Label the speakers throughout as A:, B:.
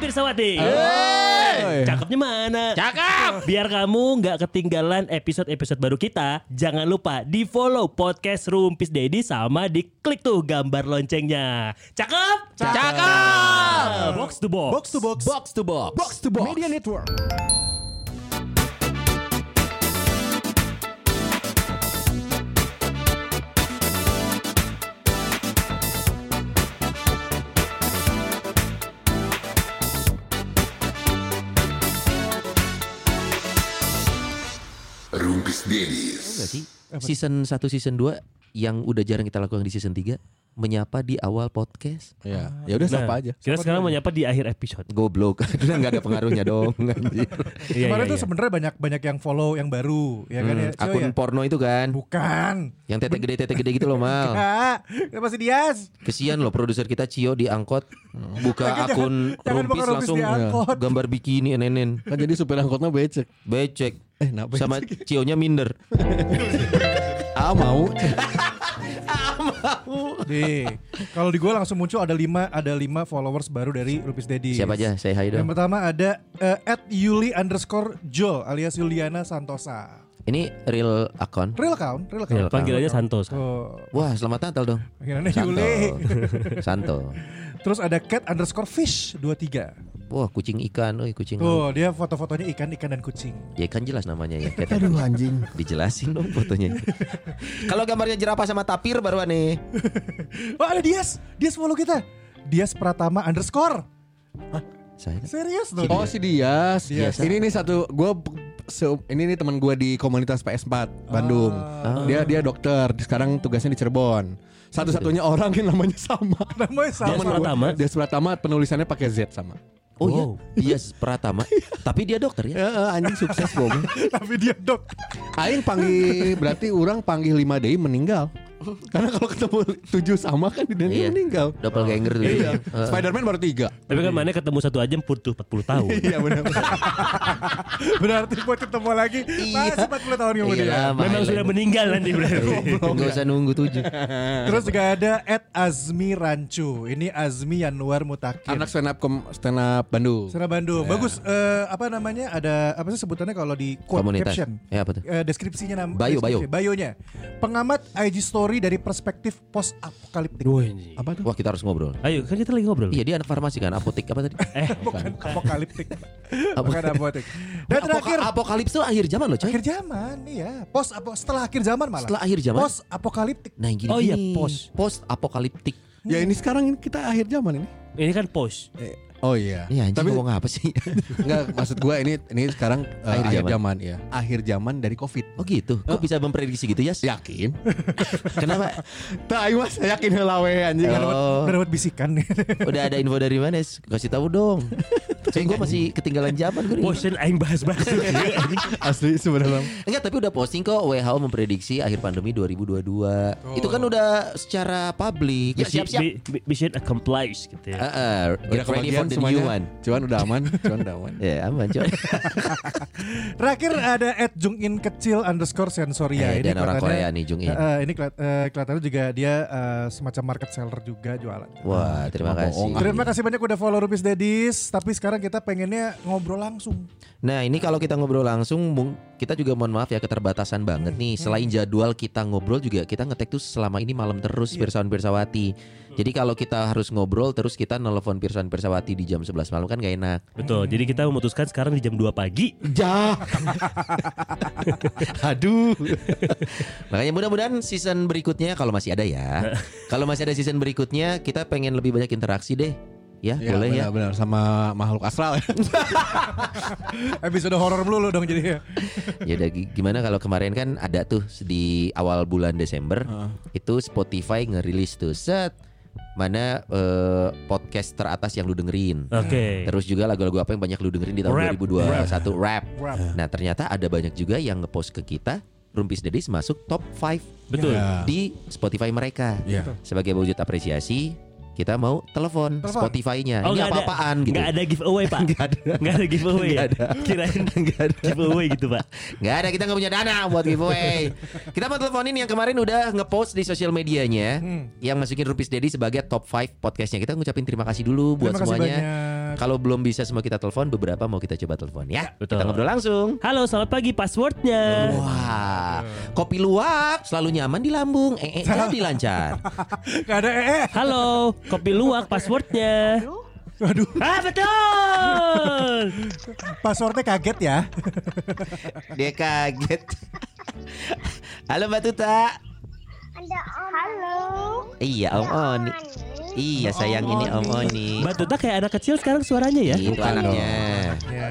A: Pirsawati.
B: Hey!
A: Cakepnya mana?
B: Cakep.
A: Biar kamu nggak ketinggalan episode-episode baru kita, jangan lupa di follow podcast Rumpis Dedi sama diklik tuh gambar loncengnya. Cakep?
B: Cakep.
A: Box to box.
C: Box to box.
B: Box to box.
C: Box to box. Media Network.
D: Rumpis Dennis.
E: Gak sih? Season 1 season 2 yang udah jarang kita lakukan di season 3 menyapa di awal podcast.
B: Ya, ya udah
A: Nah,
B: sapa aja.
A: Kita sekarang mau nyapa di akhir episode.
E: Goblok. Karena nggak ada pengaruhnya dong. anjir.
B: Kan ya,
A: Iya,
C: Kemarin
A: iya,
C: tuh
A: iya.
C: sebenarnya banyak banyak yang follow yang baru ya kan
E: Hmm,
C: ya. Cio,
E: akun
C: ya?
E: porno itu kan
C: Bukan.
E: yang tete gede tete gede gitu loh
B: Oh.
E: mal.
C: Ah, kenapa sih Dias?
E: Kesian loh produser kita Cio diangkot buka
C: Makanya
E: akun
C: jangan- jangan
E: rumpis
C: buka rumpis
E: langsung
C: diangkot.
E: gambar bikini nenen
B: Kan jadi supir angkotnya becek.
E: becek
B: Eh, kenapa
E: sama Cio-nya minder.
B: Ah mau.
C: Di. Kalau di gua langsung muncul ada 5 ada 5 followers baru dari Lupis Dedi.
E: Siapa aja? Saya hai
C: Yang
E: dong.
C: pertama ada eh, at Yuli underscore Jol alias Yuliana Santosa.
E: Ini real akun.
C: Real account,
A: Iya,
C: real account.
A: Panggil aja Santos.
C: Oh,
E: Wah, selamat Natal dong.
C: panggilannya
E: Santo.
C: Yuli.
E: Santo.
C: Terus ada cat underscore fish 23.
E: Wah, kucing ikan, oi kucing.
C: Tuh,
E: laut.
C: dia foto-fotonya ikan, ikan dan kucing.
E: Ya kan jelas namanya ya. Kayak tadi.
B: Aduh anjing.
E: Dijelasin dong fotonya. Kalau gambarnya jerapah sama tapir baru aneh.
C: Oh, ada Dias. Dias follow kita. Dias Pratama underscore.
E: Saya kan-
C: Serius
E: Iya.
C: tuh.
B: Oh si Dias.
E: Dias.
B: Ini nih satu gua se- ini nih teman gua di komunitas PS4 Bandung. Ah. Dia dia dokter, sekarang tugasnya di Cirebon. Satu-satunya orang yang namanya sama.
C: Namanya sama.
A: Dias Pratama.
B: Dia pertama penulisannya pakai Z sama.
E: Oh
A: Wow.
E: iya, Dias Pratama. Tapi dia dokter ya.
B: Ya, eh, anjing sukses gong.
C: Tapi dia dok.
B: Aing panggil berarti orang panggil 5 day meninggal. Karena kalau ketemu 7 sama kan di dunia
E: Iya.
B: meninggal.
E: Doppelganger dulu.
B: Iya.
E: Heeh.
B: Spider-Man baru 3.
A: Tapi kan mana ketemu satu aja butuh 40 tahun.
B: Iya benar.
C: Berarti buat ketemu lagi masih 40 tahun kemudian.
E: Iya,
A: Memang sudah meninggal nanti berarti.
E: Enggak Iya. usah nunggu tujuh.
C: Terus juga ada at Azmi Rancu. Ini Azmi Yanuar Mutakin.
B: Anak stand up kom- stand up Bandung.
C: Serah
E: Iya.
C: Bandung. Bagus. Eh, apa namanya? Ada apa sih sebutannya kalau di quote
E: Komunitas.
C: caption?
E: Ya apa tuh?
C: Eh, deskripsinya nam
E: Bio,
C: deskripsi, Bayonya. Pengamat IG story dari perspektif post apokaliptik.
B: Apa tuh?
E: Wah kita harus ngobrol.
A: Ayo, kan kita lagi ngobrol.
E: Iya dia anak farmasi kan, apotek apa tadi?
A: Eh,
C: Bukan apokaliptik.
E: Apa?
C: Bukan apokaliptik. Dan terakhir
E: Apoka- apokalips tuh akhir zaman loh coy.
C: akhir zaman, iya. Post apo setelah akhir zaman malah.
E: Setelah akhir zaman?
C: Post apokaliptik.
E: Nah gini,
A: Oh iya,
E: gini.
A: post.
E: post apokaliptik.
B: Ya ini sekarang kita akhir zaman ini.
A: ini kan post.
B: Oh iya.
E: Iya anjing
B: Tapi
E: ngomong apa sih?
B: enggak maksud gua ini ini sekarang eh,
E: Akhir
B: akhir,
E: zaman.
B: zaman. ya. Akhir zaman dari Covid.
E: oh gitu. Kok bisa memprediksi gitu ya?
B: Yakin?
E: Kenapa?
B: Tah aing mas yakin heula we anjing.
E: Oh.
C: Udah dapat bisikan nih.
E: Udah ada info dari mana? Kasih tahu dong. Soalnya gue masih ketinggalan zaman gue.
A: Bosen aing bahas-bahas.
B: Asli sebenarnya.
E: Enggak, tapi udah posting kok WHO memprediksi akhir pandemi 2022.
B: Oh.
E: Itu kan udah secara publik. Ya, siap-siap.
A: Bi- bi- Mission accomplished gitu ya.
E: Eh, eh,
B: Udah
E: get ready for
B: kebagian
E: the
B: semuanya.
E: new one.
B: Cuman udah aman, cuman udah aman.
E: Ya, aman, coy.
C: Terakhir ada at Jungin kecil underscore
B: Iya,
C: sensoria.
E: Eh, dan
C: kelihatannya-
E: orang Korea nih, Jungin.
C: Eh, eh, ini kelihat- eh, kelihatannya juga dia eh, semacam market seller juga jualan.
E: Wah, terima
B: Cuma
E: kasih.
B: bohong.
C: Terima kasih banyak udah follow Rupis Dedis Tapi sekarang kita pengennya ngobrol langsung
E: Nah, ini kalau kita ngobrol langsung mung- kita juga mohon maaf ya keterbatasan banget nih. Selain jadwal kita ngobrol juga kita ngetek tuh selama ini malam terus Pirsawan Pirsawati. Jadi kalau kita harus ngobrol terus kita nelpon Pirsawan Pirsawati di jam 11 malam kan gak enak.
A: Betul. Jadi kita memutuskan sekarang di jam 2 pagi
E: Ja. Aduh. Makanya mudah-mudahan season berikutnya kalau masih ada ya. Kalau masih ada season berikutnya kita pengen lebih banyak interaksi deh. Ya,
B: Ya,
E: boleh ya.
B: benar, benar sama makhluk astral ya.
C: Episode horor melulu dong jadi ya
E: Ya udah gi- gimana kalau kemarin kan ada tuh di awal bulan Desember itu Spotify ngerilis tuh set mana eh, podcast teratas yang lu dengerin.
A: Oke.
E: Ah, Terus juga lagu-lagu apa yang banyak lu dengerin di tahun
A: Rap,
E: 2021 rap.
C: Rap.
E: Nah, ternyata ada banyak juga yang ngepost ke kita Rumpis Dedis masuk top 5
A: Betul.
B: Ya.
E: di Spotify mereka.
B: Iya.
C: gitu.
E: Sebagai wujud apresiasi kita mau telepon
C: Telepon.
E: Spotify-nya.
A: Oh,
E: Ini
A: nggak ada-
E: apa-apaan gitu.
A: Nggak ada giveaway pak
E: Nggak ada.
A: Nggak ada giveaway ya
E: Nggak ada.
A: Kirain
E: Nggak ada.
A: giveaway gitu pak
E: Nggak ada kita nggak punya dana buat giveaway. kita mau teleponin yang kemarin udah ngepost di sosial medianya
C: Hmm.
E: yang masukin Rupis Dedi sebagai top 5 podcastnya. Kita ngucapin terima kasih dulu
C: Terima
E: buat
C: kasih
E: semuanya.
C: banyak.
E: Kalau belum bisa semua kita telepon, beberapa mau kita coba telepon ya.
A: Betul.
E: Kita ngobrol langsung.
A: Halo selamat pagi passwordnya
E: Wah, kopi luwak selalu nyaman di lambung, ee jadi lancar.
C: Gak ada eh eh.
A: Halo kopi luwak passwordnya
C: Aduh,
A: Ah betul
C: passwordnya kaget ya.
E: Dia kaget. Halo Mbak Tuta.
D: Ada Om. Halo.
E: Iya Om Oni. Iya sayang ini Om Oni.
A: Mbak Tuta kayak anak kecil sekarang suaranya ya
E: Itu anaknya.
C: Ya.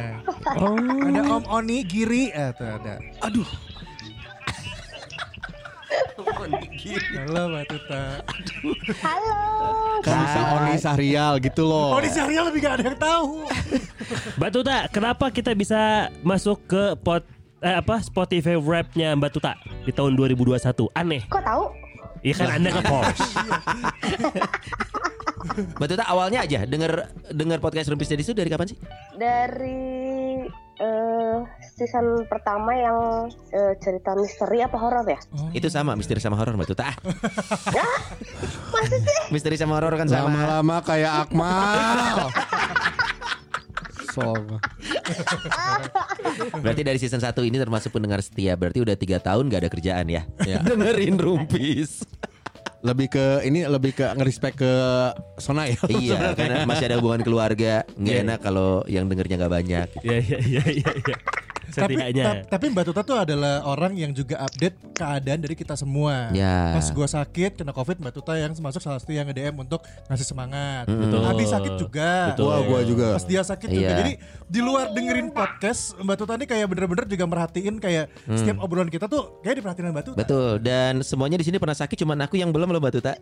A: Oh
C: Ada Om Oni Giri, eh tuh ada.
E: Aduh.
C: Halo Mbak Tuta.
D: Halo.
B: Kan bisa Oni Sahrial gitu loh.
C: Oh, di serial lebih gak ada yang tahu.
A: Mbak Tuta kenapa kita bisa masuk ke pot eh, apa Spotify Wrap-nya Mbak Tuta di tahun 2021 aneh
D: Kok tahu?
A: ya kan anda ke pos
E: Mbak Tuta awalnya aja denger denger podcast Rumpis Jadi itu dari kapan sih?
D: Dari eh, season pertama yang eh, cerita misteri apa horor ya?
E: Itu sama misteri sama horor Mbak Tuta. Ah, misteri sama horor kan sama.
B: Lama-lama kayak Akmal. Sob.
E: Berarti dari season 1 ini termasuk pendengar setia. Berarti udah tiga tahun gak ada kerjaan ya. Dengerin Rumpis.
B: Lebih ke ini lebih ke ngerespek ke Sona ya.
E: Iya, karena masih ada hubungan keluarga. Nggak
A: Iya.
E: enak kalau yang dengernya nggak banyak.
A: Ya ya
E: iya,
A: ya ya ya.
C: tapi,
A: Setidaknya.
C: tap- tapi Mbak Tuta tuh adalah orang yang juga update keadaan dari kita semua.
E: Ya.
C: Pas gua sakit kena COVID, Mbak Tuta yang termasuk salah satu yang nge-DM untuk ngasih semangat.
A: Betul.
C: Abi sakit juga.
A: Betul.
B: Wah, gua juga.
C: Pas dia sakit juga.
E: Iya.
C: Jadi di luar dengerin podcast, Mbak Tuta ini kayak bener-bener juga merhatiin kayak setiap obrolan kita tuh kayak diperhatiin Mbak Tuta.
E: Betul. Dan semuanya di sini pernah sakit, cuman aku yang belum loh Mbak Tuta.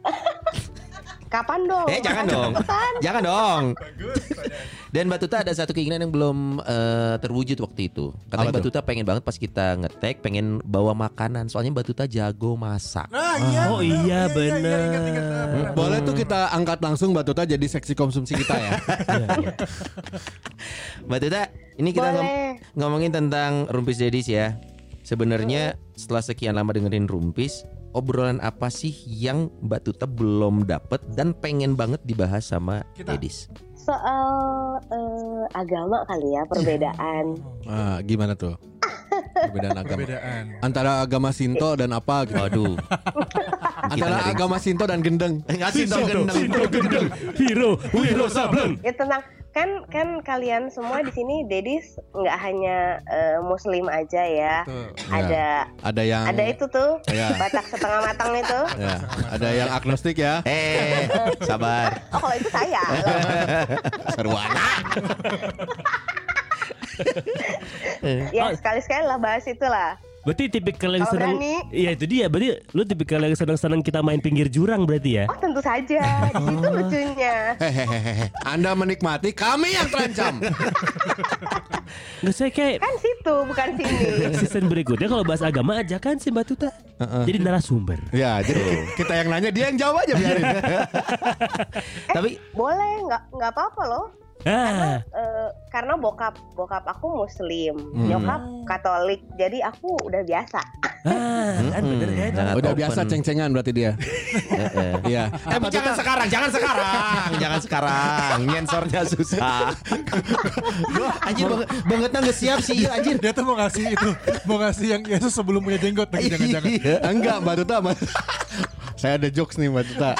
D: Kapan dong?
E: Eh jangan dong, jangan dong. Dan Mbak Tuta ada satu keinginan yang belum eh, terwujud waktu itu. Katanya
B: Apa
E: Mbak
B: tuh?
E: Tuta pengen banget pas kita ngetek, pengen bawa makanan. Soalnya Mbak Tuta jago masak.
C: Nah, iya.
A: Oh,
C: bener.
A: iya,
C: Iya, ingat, ingat,
A: bener.
C: bener, bener.
B: Boleh tuh kita angkat langsung Mbak Tuta jadi seksi konsumsi kita ya.
E: Mbak Tuta, ini kita ngom-
D: Boleh.
E: ngomongin tentang Rumpis Dedis ya. Sebenarnya setelah sekian lama dengerin Rumpis, obrolan apa sih yang Mbak Tuta belum dapet dan pengen banget dibahas sama
C: Kita.
E: Dedis?
D: Soal eh, agama kali ya perbedaan.
B: Nah, gimana tuh? Perbedaan agama.
C: Perbedaan.
B: Antara agama Sinto dan apa gitu.
E: Waduh. Eh,
B: Antara
E: ngeri.
B: agama Sinto dan gendeng.
E: Ngasih dong gendeng.
A: gendeng, hero, hero sableng.
D: Ya tenang. Kan kan kalian semua di sini Dedis nggak hanya eh, muslim aja ya.
C: Betul.
D: Ada
B: Ya. Ada yang
D: ada itu tuh
B: Iya.
D: Batak setengah matang itu.
B: Ya, ada yang agnostik ya.
E: Eh, sabar.
D: Oh kalau itu saya.
B: Seru aja.
D: ya sekali-sekali lah bahas itulah.
A: Berarti tipikal yang
D: Kalau
A: senang
D: berani.
A: Iya itu dia Berarti lu tipikal yang senang-senang kita main pinggir jurang berarti ya
D: Oh tentu saja. Di situ lucunya.
B: Hehehe. Anda menikmati kami yang terancam.
A: Nggak saya kayak
D: Kan situ bukan sini.
A: season berikutnya kalau bahas agama aja kan si Mbak Tuta Jadi narasumber
B: ya, jadi kita yang nanya dia yang jawab aja biarin.
E: Iya. Tapi
D: Eh, Boleh nggak nggak apa-apa loh.
A: Ah,
D: Eh, karena bokap bokap aku muslim,
B: Hmm.
D: nyokap Katolik, jadi aku udah biasa.
A: ah kan bener kan
E: Jangan
B: Udah
E: Hmm, open.
B: biasa ceng-cengan berarti dia.
E: Eh, eh.
B: Iya. Eh, Mbak Tuta,
E: sekarang, jangan sekarang, jangan sekarang. Nyensornya susah. Gua anjir banget banget nggak siap sih, iya, anjir.
C: Dia tuh mau ngasih itu, mau ngasih yang Yesus sebelum punya jenggot Nah, lagi jangan-jangan.
B: Iya. enggak Mbak Tuta, Mbak Tuta. Saya ada jokes nih Mbak Tuta.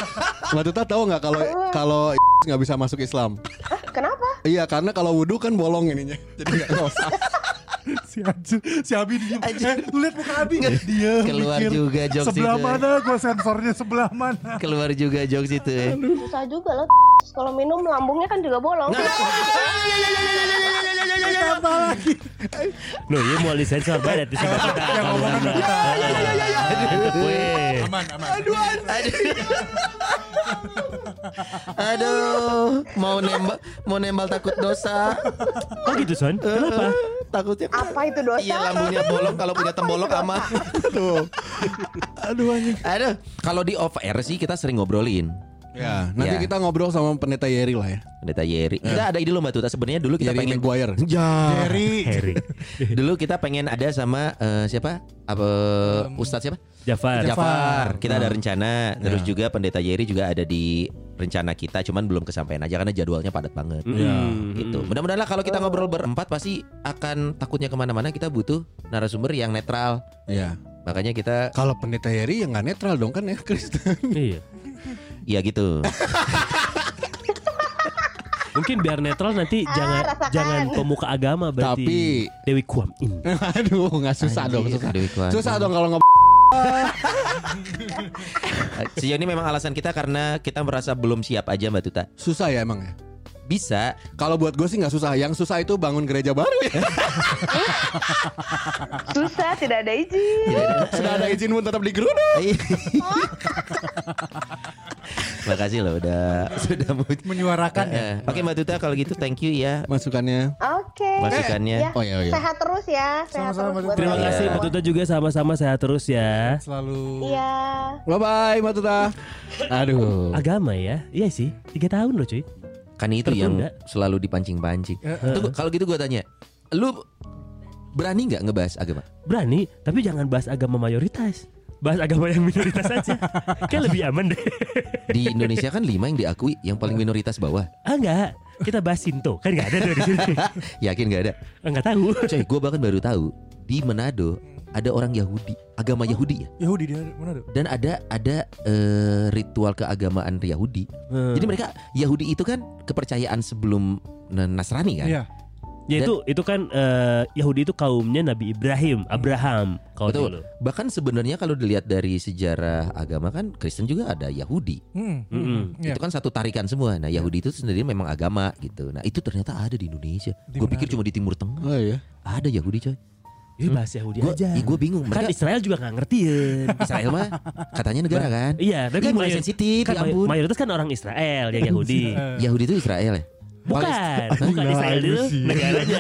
B: Mbak Tuta tahu nggak kalau kalau nggak bisa masuk Islam?
D: Hah, kenapa?
B: Iya, karena kalau wudhu kan bolong ininya. Jadi nggak dosa.
C: si Anjir, si Abi diem. Eh, lu lihat muka Abi nggak? Diem.
E: Keluar
C: mikir,
E: juga jokes
C: Sebelah
E: itu. ya.
C: mana gua sensornya sebelah mana?
E: Keluar juga jokes itu. eh.
D: Susah juga loh. Kalau minum lambungnya kan juga bolong.
B: Nah.
C: Apa lagi?
A: Loh ya mau disensor banget di Mbak Tuta
C: Yang omongan Mbak Tuta.
A: Ya ya ya ya
C: Aman, aman.
E: Aduh, mau nembak, mau nembal takut dosa. Eh,
A: Kok gitu Son? Kenapa?
E: Takutnya
D: Apa itu dosa?
E: Iya lambungnya bolong kalau punya tembolok sama.
B: Aduh. Aduh anjing.
E: Aduh, kalau di off air sih kita sering ngobrolin.
B: Ya,
E: Ya.
B: nanti kita ngobrol sama pendeta Yeri lah ya.
E: Pendeta Yeri. Kita ada ide loh Mbak Tuta. Sebenarnya dulu kita
B: Yeri
E: pengen
B: Maguire.
E: Ya.
C: Jerry
A: Harry
E: Dulu kita pengen ada sama eh, siapa? Apa Ustadz siapa?
A: Jafar.
E: Jafar. Kita
B: Nah.
E: ada rencana. Terus
B: Iya.
E: juga pendeta Yeri juga ada di rencana kita. Cuman belum kesampaian aja karena jadwalnya padat banget.
A: Ya.
E: Gitu.
B: Mm-hmm.
E: Mudah-mudahan lah kalau kita
B: Oh.
E: ngobrol berempat pasti akan takutnya kemana-mana. Kita butuh narasumber yang netral.
B: Iya.
E: Makanya kita
B: Kalau pendeta Yeri yang nggak netral dong kan ya Kristen.
A: Iya.
E: ya gitu.
A: Mungkin biar netral nanti
D: Ah,
A: jangan
D: rasakan.
A: jangan pemuka agama berarti.
B: Tapi-
A: Dewi Kuam ini.
B: Aduh, nggak susah
E: Anjir,
B: dong, susah.
E: Dewi Kwan.
B: Susah dong kalau ngobrol.
E: Eh, Sejauh ini memang alasan kita karena kita merasa belum siap aja Mbak Tuta.
B: Susah ya emang ya.
E: Bisa
B: Kalau buat gue sih nggak susah. Yang susah itu bangun gereja baru ya.
D: Susah, tidak ada izin.
B: Sudah ada izin pun tetap digeruduk.
E: Iya. Makasih loh udah sudah mau
C: menyuarakan ya.
E: Eh, Oke Mbak Tuta kalau gitu thank you ya
B: Masukannya.
D: Oke.
E: Masukannya.
D: Ya,
B: Oh, iya, iya.
D: Sehat terus ya.
C: Sama-sama,
D: Sehat terus
C: Mbak
D: buat
C: Tuti.
A: Terima
E: Iya.
D: kalian
A: kasih Mbak
D: semua.
A: Tuta juga sama-sama sehat terus ya.
C: Selalu
D: Iya.
B: Bye bye Matuta. Aduh.
A: Agama ya. Iya sih. Tiga tahun loh cuy.
E: Kan itu
A: Tertunda.
E: yang selalu dipancing-pancing
B: Eh,
E: Itu gua- Kalau gitu gue tanya Lu berani nggak ngebahas agama?
A: Berani, tapi jangan bahas agama mayoritas. Bahas agama yang minoritas aja. Kayak lebih aman deh.
E: Di Indonesia kan lima yang diakui Yang
C: Iya.
E: paling minoritas bawah
A: ah enggak. Kita bahas Sinto. Kan enggak ada tuh di sini.
E: Yakin nggak ada?
A: Enggak tahu.
E: Coy gue bahkan baru tahu Di Manado ada orang Yahudi Agama Yahudi ya
C: Yahudi dia mana tuh?
E: dan ada ada eh, ritual keagamaan Yahudi.
C: Hmm.
E: Jadi mereka Yahudi itu kan kepercayaan sebelum Nasrani kan?
C: Iya.
A: Ya itu itu kan eh, Yahudi itu kaumnya Nabi Ibrahim, Abraham kalau
E: Betul.
A: dulu.
E: Bahkan sebenarnya kalau dilihat dari sejarah agama kan Kristen juga ada Yahudi.
C: Hmm.
A: Mm-mm.
C: Iya.
E: Itu kan satu tarikan semua. Nah, Yahudi itu sendiri memang agama gitu. Nah, itu ternyata ada di Indonesia.
C: Di
E: Gue
C: Manado.
E: pikir
C: Iya
E: cuma di Timur Tengah.
B: Oh iya.
E: Ada Yahudi coy.
A: Jadi bahas Yahudi
E: Gue
A: aja.
E: gue bingung.
A: kan
E: Mereka
A: Israel juga nggak ngertiin.
E: Israel mah katanya negara kan?
A: Iya, tapi
E: Ini
A: kan
E: mulai
A: mayor-
E: sensitif,
A: kan
E: ya
A: may-
E: ampun.
A: mayoritas kan orang Israel yang Yahudi.
E: Yahudi itu Israel ya?
A: Bukan, bukan
B: Nah,
A: Israel
B: ini
A: dulu
B: sih.
A: negaranya.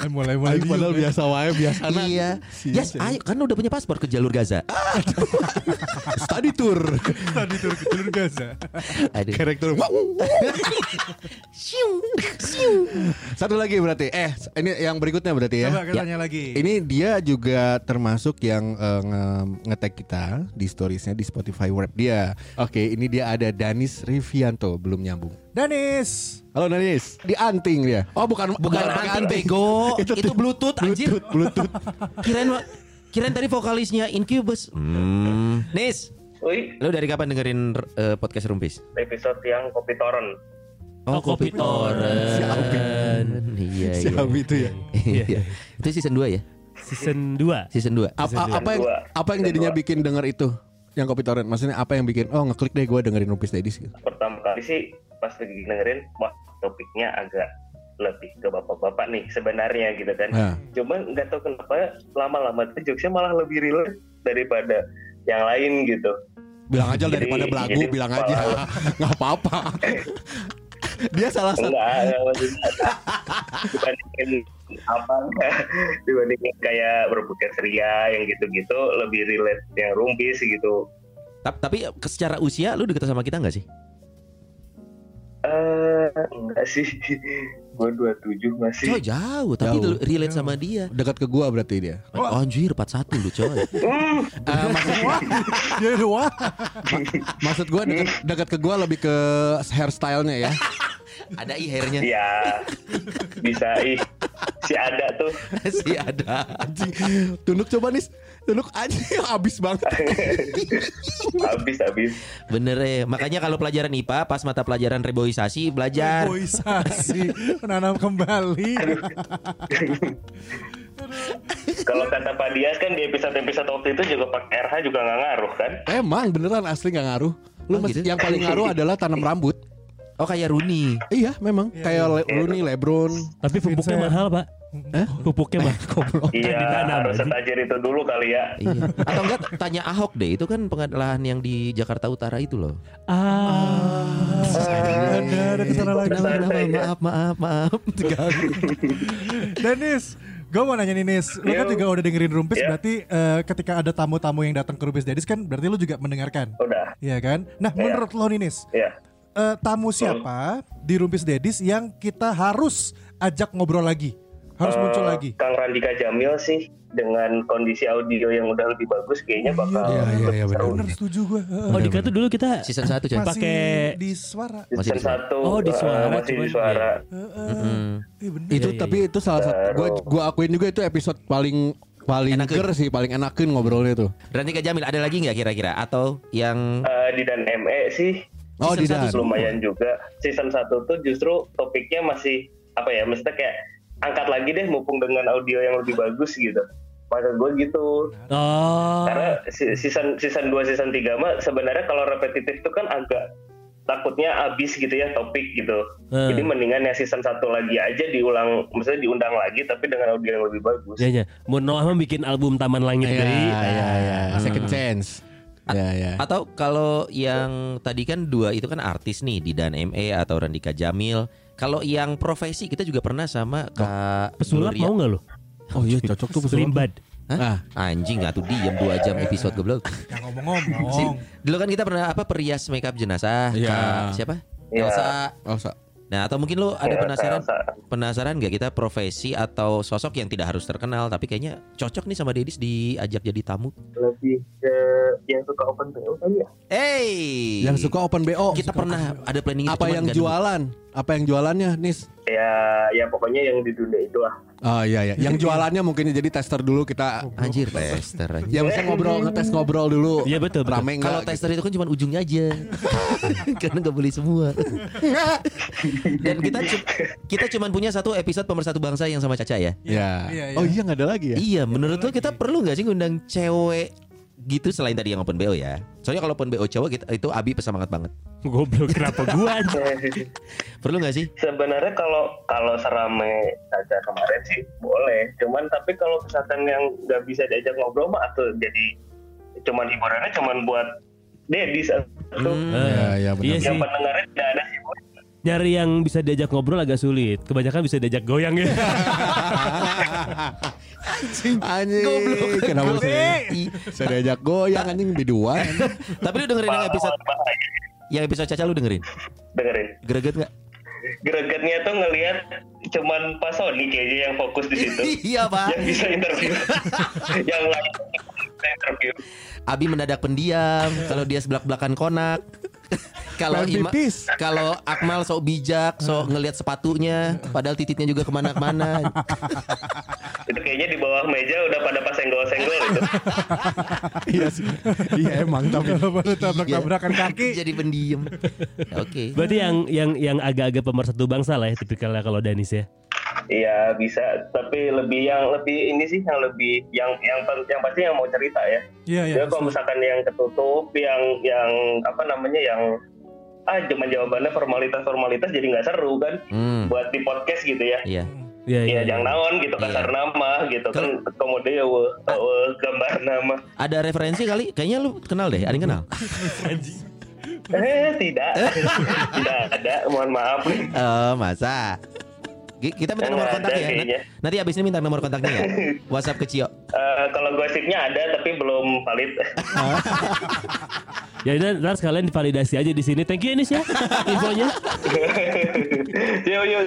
C: Eh, mulai mulai.
B: Aing padahal biasa wae biasa.
E: iya. Yes, ayo kan udah punya paspor ke jalur Gaza.
B: Study tour.
C: Tadi tur ke jalur Gaza.
E: Aduh.
B: Karakter.
E: Siung.
B: Satu lagi berarti. Eh, ini yang berikutnya berarti ya.
C: Coba kita
E: Ya.
C: tanya lagi.
B: Ini dia juga termasuk yang eh, nge- nge-tag kita di storiesnya di Spotify web dia. Oke, ini dia ada Danis Rivianto belum nyambung.
C: Danis.
B: Halo Danis, di anting dia. Oh bukan
E: Bukan
B: pakai
E: anting bego. itu, Bluetooth anjir.
B: Bluetooth, Bluetooth.
E: Kirain wa- kirain tadi vokalisnya Incubus. Hmm. Nis,
F: Wih,
E: lu dari kapan dengerin eh, podcast Rumpis?
F: episode yang kopi toren.
A: Oh, Kopi Toren.
E: Si Alvin. Iya,
B: Si
E: iya.
B: Abi itu ya.
E: Iya. Itu season 2 ya?
A: Season 2.
E: Season 2.
B: Apa, apa yang
F: dua.
B: apa yang jadinya bikin denger itu? Yang kopi torrent maksudnya apa yang bikin oh ngeklik deh gue dengerin Rupis Dedis gitu.
F: Pertama kali sih pas lagi dengerin, wah topiknya agak lebih ke bapak-bapak nih sebenarnya gitu kan.
B: Nah.
F: Cuman nggak tahu kenapa lama-lama tuh jokesnya malah lebih relate daripada yang lain gitu.
B: Bilang aja daripada
F: Jadi-
B: belagu,
F: jadi
B: bilang aja. Nggak apa-apa. dia salah satu
F: Enggak, enggak, maksudnya dibandingin apa dibandingin kayak berbuka ceria yang gitu-gitu lebih relate yang rumpis gitu.
E: Ta- Tapi ke- secara usia lu deket sama kita nggak sih?
F: Eh enggak sih. Gua 27 masih.
E: Coy jauh, tapi
B: Jauh.
E: lu relate sama dia.
B: dekat ke gua berarti dia.
E: Oh, anjir 41 lu coy.
B: Eh, maksud,
C: Dia wah.
B: maksud gua dekat,
F: Hmm.
B: dekat ke gua lebih ke hairstylenya ya.
E: Ada i hairnya
F: Iya. Bisa ih. Si ada tuh.
E: sih ada.
B: Anjing. Tunduk coba nih. Tunduk anjing habis banget.
F: habis habis.
E: Bener ya. Makanya kalau pelajaran IPA pas mata pelajaran reboisasi belajar.
C: Boisasi menanam kembali.
F: Kalau kata Pak Dias kan di episode-episode waktu itu juga Pak RH juga nggak ngaruh kan?
B: Emang beneran asli nggak ngaruh. Lu
E: Oh,
B: mesti-
E: gitu?
B: yang
F: Iya,
B: paling ngaruh adalah tanam rambut.
E: Oh kayak Rooney.
B: Iya, memang kayak Le- Rooney, LeBron.
A: Tapi pupuknya
C: Vincent.
A: mahal, Pak.
B: Hah?
A: Pupuknya mahal. Goblok.
F: Iya,
A: Ditanam,
F: harus
A: anjing.
F: setajir itu dulu kali ya.
E: Iya. Atau enggak tanya Ahok deh, itu kan pengadilan yang di Jakarta Utara itu loh.
A: Ah.
C: Ada ada kesana lagi.
F: ya.
E: Kenapa, kenapa? Maaf, maaf, maaf. Terganggu.
C: Danis, Gue mau nanya nih Nis, lu kan
F: Yo.
C: juga udah dengerin Rumpis
F: Ya.
C: berarti eh, ketika ada tamu-tamu yang datang ke Rumpis Dadis kan berarti lu juga mendengarkan.
F: Udah.
C: Iya kan? Nah,
F: Ya.
C: menurut lo nih Nis,
F: Ya.
C: eh, tamu siapa di Rumpis Dedis yang kita harus ajak ngobrol lagi? Harus
F: Eh,
C: muncul lagi.
F: Kang Randika Jamil sih dengan kondisi audio yang udah lebih bagus kayaknya
C: Oh,
F: bakal
B: Iya, iya, iya,
F: seru.
B: benar.
C: Bener setuju gue.
A: Oh Dika tuh dulu kita
E: Season 1 Chan.
C: Masih
A: Pakai-
C: di suara.
E: Masih
F: Season
E: di suara.
F: satu
A: Oh, di
F: eh,
A: suara,
F: masih di
A: cuman-
F: suara.
E: Mm-mm.
C: Eh, bener.
B: itu
A: Iya, iya,
B: tapi itu salah satu gua gua akuin juga itu episode paling paling
E: Enakin.
B: ger sih paling enakin ngobrolnya tuh
E: Randika Jamil ada lagi nggak kira-kira atau yang
F: Eh, di dan ME sih
B: oh
E: Season
B: di
E: satu
B: Dan
E: sebelum-
F: lumayan juga. Season satu tuh justru topiknya masih apa ya? Maksudnya kayak angkat lagi deh mumpung dengan audio yang lebih bagus gitu. Maka gue gitu.
A: Oh
F: Karena si- season season 2 season 3 mah sebenarnya kalau repetitif tuh kan agak takutnya habis gitu ya topik gitu.
A: Hmm.
F: Jadi mendingan yang season satu lagi aja diulang, maksudnya diundang lagi tapi dengan audio yang lebih bagus.
A: Ya ya Mun Noah mah bikin album Taman Langit
B: ya
A: deui.
B: ya ya second chance ya ya
E: atau kalau yang tadi kan dua itu kan artis nih di Dan ME atau Randika Jamil. Kalau yang profesi kita juga pernah sama Kak
A: Pesulap
E: Gloria.
A: mau nggak lo?
B: Iya. oh iya cocok tuh pesulap.
A: Limbad.
B: ah
E: Anjing nggak tuh diem dua jam episode goblok.
C: Ya ngomong-ngomong.
E: Dulu kan kita pernah apa perias makeup jenazah
B: Oh. Iya.
E: Kak siapa?
F: Iya.
E: Elsa.
B: Elsa
E: Nah atau mungkin lo ada
F: Iya,
E: penasaran
F: Elsa.
E: penasaran nggak kita profesi atau sosok yang tidak harus terkenal tapi kayaknya cocok nih sama Dedis diajak jadi tamu.
F: Lebih ke yang suka open PO kali ya.
E: Hey,
B: yang suka open bo
E: kita pernah ada planning itu,
B: apa
E: cuman
B: yang
E: nggak
B: jualan apa yang jualannya nis
F: Ya, ya pokoknya yang di dunia itu lah.
B: Oh iya iya, yang jualannya mungkin jadi tester dulu kita
E: nemu. Anjir tester. anjir.
B: Ya bisa ngobrol ngetes ngobrol dulu.
A: Iya, betul, betul.
B: Rame
E: Kalau
B: enggak?
E: tester itu kan cuma ujungnya aja, karena nggak boleh semua. Dan kita cu- kita cuma punya satu episode pemersatu bangsa yang sama Caca ya.
B: Ya.
C: Iya, iya.
B: Oh iya nggak ada lagi ya?
E: Iya, menurut lo kita perlu nggak sih ngundang cewek gitu selain tadi yang open bo ya? Soalnya kalau open bo cowok kita, itu Abi pesemangat banget.
A: Goblok
E: Oh,
A: kenapa gua anjing?
E: Perlu nggak sih?
F: Sebenarnya kalau kalau serame saja kemarin sih boleh. Cuman tapi kalau misalkan yang nggak bisa diajak ngobrol mah atau jadi cuman hiburannya cuman buat dedis atau
B: Iya iya benar.
A: Iya sih.
F: yang pendengarnya tidak ada sih. Bu.
A: Nyari yang bisa diajak ngobrol agak sulit. Kebanyakan bisa diajak goyang ya.
B: Anjing. Kenapa sih?
E: I-
B: Saya diajak goyang anjing biduan.
E: Tapi lu dengerin yang episode
F: Bahaya.
E: yang episode Caca lu dengerin.
F: Dengerin.
E: Greget nggak?
F: Gregetnya tuh ngelihat cuman Pak Sony kayaknya yang fokus di situ.
E: iya pak.
F: yang bisa interview. yang lain bisa interview.
E: Abi mendadak pendiam. Kalau dia sebelak belakan konak. Kalau Ima,
B: Pengen pipis.
E: kalau Akmal sok bijak, sok ngelihat sepatunya, padahal titiknya juga kemana-mana.
F: Itu kayaknya di bawah meja udah pada pas senggol-senggol itu.
B: Iya sih. Iya emang tapi
C: Baru tabrak-tabrakan kaki.
E: Jadi pendiam. Oke.
A: Berarti yang yang yang agak-agak pemersatu bangsa lah ya tipikalnya kalau Danis ya.
F: Iya bisa, tapi lebih yang lebih ini sih yang lebih yang yang pen- yang pasti yang mau cerita ya.
C: Iya, iya.
F: Ya, kalau misalkan yang ketutup, yang yang apa namanya yang ah cuma jawabannya formalitas formalitas jadi nggak seru kan
E: Hmm.
F: buat di podcast gitu ya.
E: Iya.
A: Iya
F: Iya jangan naon gitu
E: Iya.
F: kasar nama gitu
E: Kel-
F: kan komode ya we, we, gambar nama.
E: Ada referensi kali? Kayaknya lu kenal deh. Ada yang kenal?
F: Eh tidak tidak ada mohon maaf nih.
E: Eh, masa? Ki- Kita minta
F: Yang
E: nomor
F: ada iya.
E: kontak ya.
F: kayaknya.
E: Nanti abis ini minta nomor kontaknya ya. WhatsApp ke Cio.
F: Eh, kalau gosipnya ada tapi belum valid.
A: Ya udah ntar sekalian divalidasi aja di sini. Thank you Anis ya infonya.
F: yo yo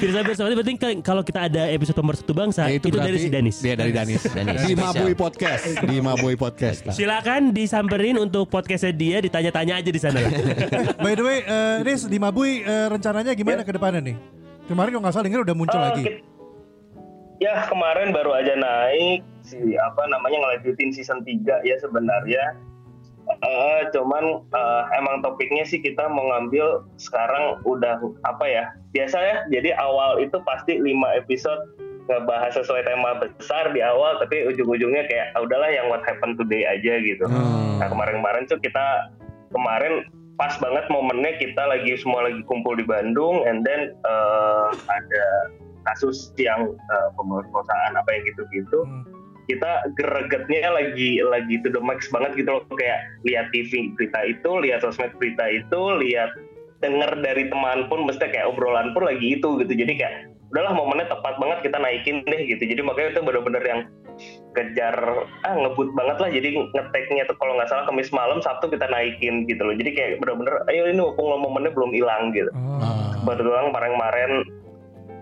A: Firsa Firsa berarti penting kan kalau kita ada episode pemersatu bangsa itu, dari si Danis.
B: Iya dari Danis.
E: Danis.
B: Di Mabui Podcast. Di Mabui Podcast. lah.
A: Silakan disamperin untuk podcastnya dia ditanya-tanya aja di sana lah.
C: By the way, eh, Nis di Mabui eh, rencananya gimana
F: Iya.
C: ke depannya nih? Kemarin kalau nggak salah denger udah muncul
F: Oh,
C: lagi.
F: kit- Ya kemarin baru aja naik si apa namanya ngelanjutin season 3 ya sebenarnya. Eh, cuman eh, emang topiknya sih kita mau ngambil sekarang udah apa ya biasa ya jadi awal itu pasti 5 episode ngebahas sesuai tema besar di awal tapi ujung-ujungnya kayak "Ah, udahlah yang what happened today aja gitu
C: Ah.
B: Hmm.
F: nah kemarin-kemarin tuh kita kemarin pas banget momennya kita lagi semua lagi kumpul di Bandung and then eh, ada kasus yang eh, pemerkosaan apa yang gitu-gitu
C: Hmm.
F: kita gregetnya lagi lagi to the max banget gitu loh kayak lihat TV berita itu lihat sosmed berita itu lihat denger dari teman pun mesti kayak obrolan pun lagi itu gitu jadi kayak udahlah momennya tepat banget kita naikin deh gitu jadi makanya itu bener-bener yang kejar ah ngebut banget lah jadi ngeteknya tuh kalau nggak salah kemis malam sabtu kita naikin gitu loh jadi kayak bener-bener ayo ini mumpung lo momennya belum hilang gitu
B: Ah.
F: kebetulan kemarin-kemarin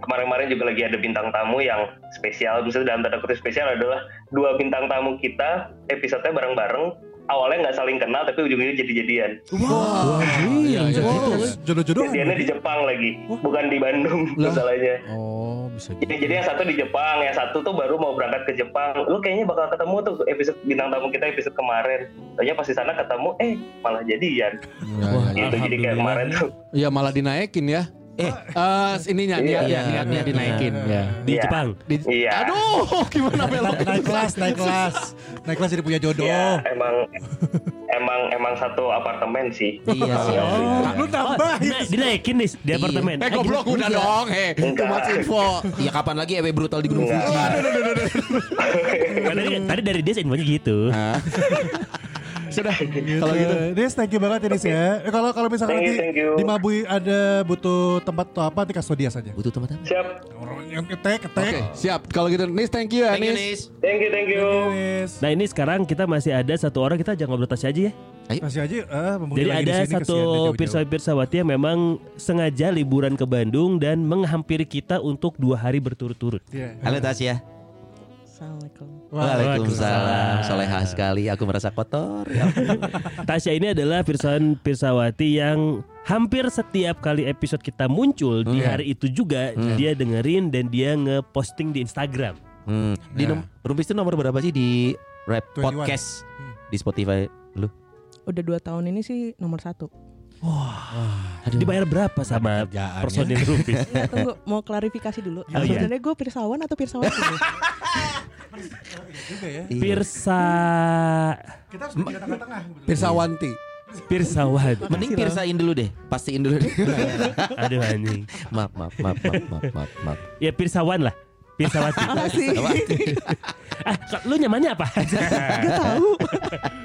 F: kemarin-kemarin juga lagi ada bintang tamu yang spesial misalnya dalam tanda kutip spesial adalah dua bintang tamu kita episodenya bareng-bareng awalnya nggak saling kenal tapi ujung-ujungnya jadi-jadian
C: Wah, Gitu.
B: iya, iya,
C: Wow,
B: iya.
C: jodoh-jodohan.
F: jadiannya di Jepang lagi
C: Wah.
F: bukan di Bandung
B: Lah.
F: masalahnya
B: Oh, bisa
F: jadi, Iya, jadi yang satu di Jepang yang satu tuh baru mau berangkat ke Jepang lu kayaknya bakal ketemu tuh episode bintang tamu kita episode kemarin Tanya pas di sana ketemu eh malah jadian
B: Ya,
A: Wah,
B: ya, ya.
F: gitu jadi kayak
A: Alhamdulillah.
F: kemarin tuh
B: Ya, malah dinaikin ya.
E: Eh.
B: Eh, ininya
F: Iya,
B: niatnya,
E: iya,
B: niatnya
E: iya.
B: dinaikin ya.
A: di
F: Iya.
A: Jepang.
B: Di-
F: Iya.
B: Aduh, gimana belok?
C: Naik, naik kelas, naik kelas. Naik kelas jadi punya jodoh.
F: ya emang emang emang satu apartemen sih
E: Iya
C: Oh,
E: sih. Iya.
C: lu
A: Oh,
C: nambahin.
A: dina- dinaikin nih di
E: Iya.
A: apartemen.
B: Eh goblok udah dong, eh.
F: Enggak.
B: Cuma info.
E: Ya kapan lagi EW brutal di Gunung
F: Enggak.
E: Fuji?
A: Kan tadi, tadi dari dia infonya gitu.
B: Sudah.
C: Gitu.
B: Kalau gitu.
C: Des, thank you banget ya Des ya. Eh, Kalau kalau misalkan
F: Thank you,
C: nanti
F: thank you.
C: di Mabui ada butuh tempat atau apa, nanti kasih tau dia saja.
E: Butuh teman-teman.
F: siap
C: Yang ketek,
B: Oke,
C: ketek.
B: siap. Kalau gitu, Nis, thank you,
E: Thank you, Nis.
B: Anis.
F: thank you thank
C: Iya,
F: you
C: Yes.
A: Nah ini sekarang kita masih ada satu orang kita jangan ngobrol tasnya aja ya.
C: Kasih aja, eh, membudi
A: Jadi
C: lagi di
A: ada
C: sini,
A: satu
C: kasihan dia jauh-jauh.
A: pirsa-pirsawati yang memang sengaja liburan ke Bandung dan menghampiri kita untuk dua hari berturut-turut.
C: Iya.
E: Halo Tasya.
G: Assalamualaikum.
E: Waalaikumsalam.
A: Waalaikumsalam.
E: Solehah sekali. Aku merasa kotor. Ya ampun.
A: Tasya ini adalah pirsawan pirsawati yang hampir setiap kali episode kita muncul di
E: Hmm.
A: hari itu juga
E: Hmm.
A: dia dengerin dan dia ngeposting di Instagram.
E: Hmm, Di
B: Ya.
E: nom Rumpis itu nomor berapa sih di rap
C: 21.
E: podcast di Spotify?
G: Udah dua tahun ini sih nomor satu.
E: Aduh.
A: Hmm. Dibayar berapa sama
B: Kerjaan.
A: personil Iya. Rupis?
G: Enggak, Iya, tunggu, mau klarifikasi dulu.
A: Oh, iya.
G: Sebenarnya gue pirsawan atau pirsawan dulu?
C: Juga ya.
E: Iya.
A: Pirsa
C: Kita harus di tengah-tengah. gitu.
B: Pirsawanti.
A: pirsawati.
E: Mending pirsain dulu deh. Pastiin dulu deh.
A: Aduh anjing.
E: maaf, maaf, maaf, maaf, maaf, maaf, maaf.
A: Ya pirsawan lah. Pirsawati.
G: Apa sih?
A: ah, kok lu nyamannya apa?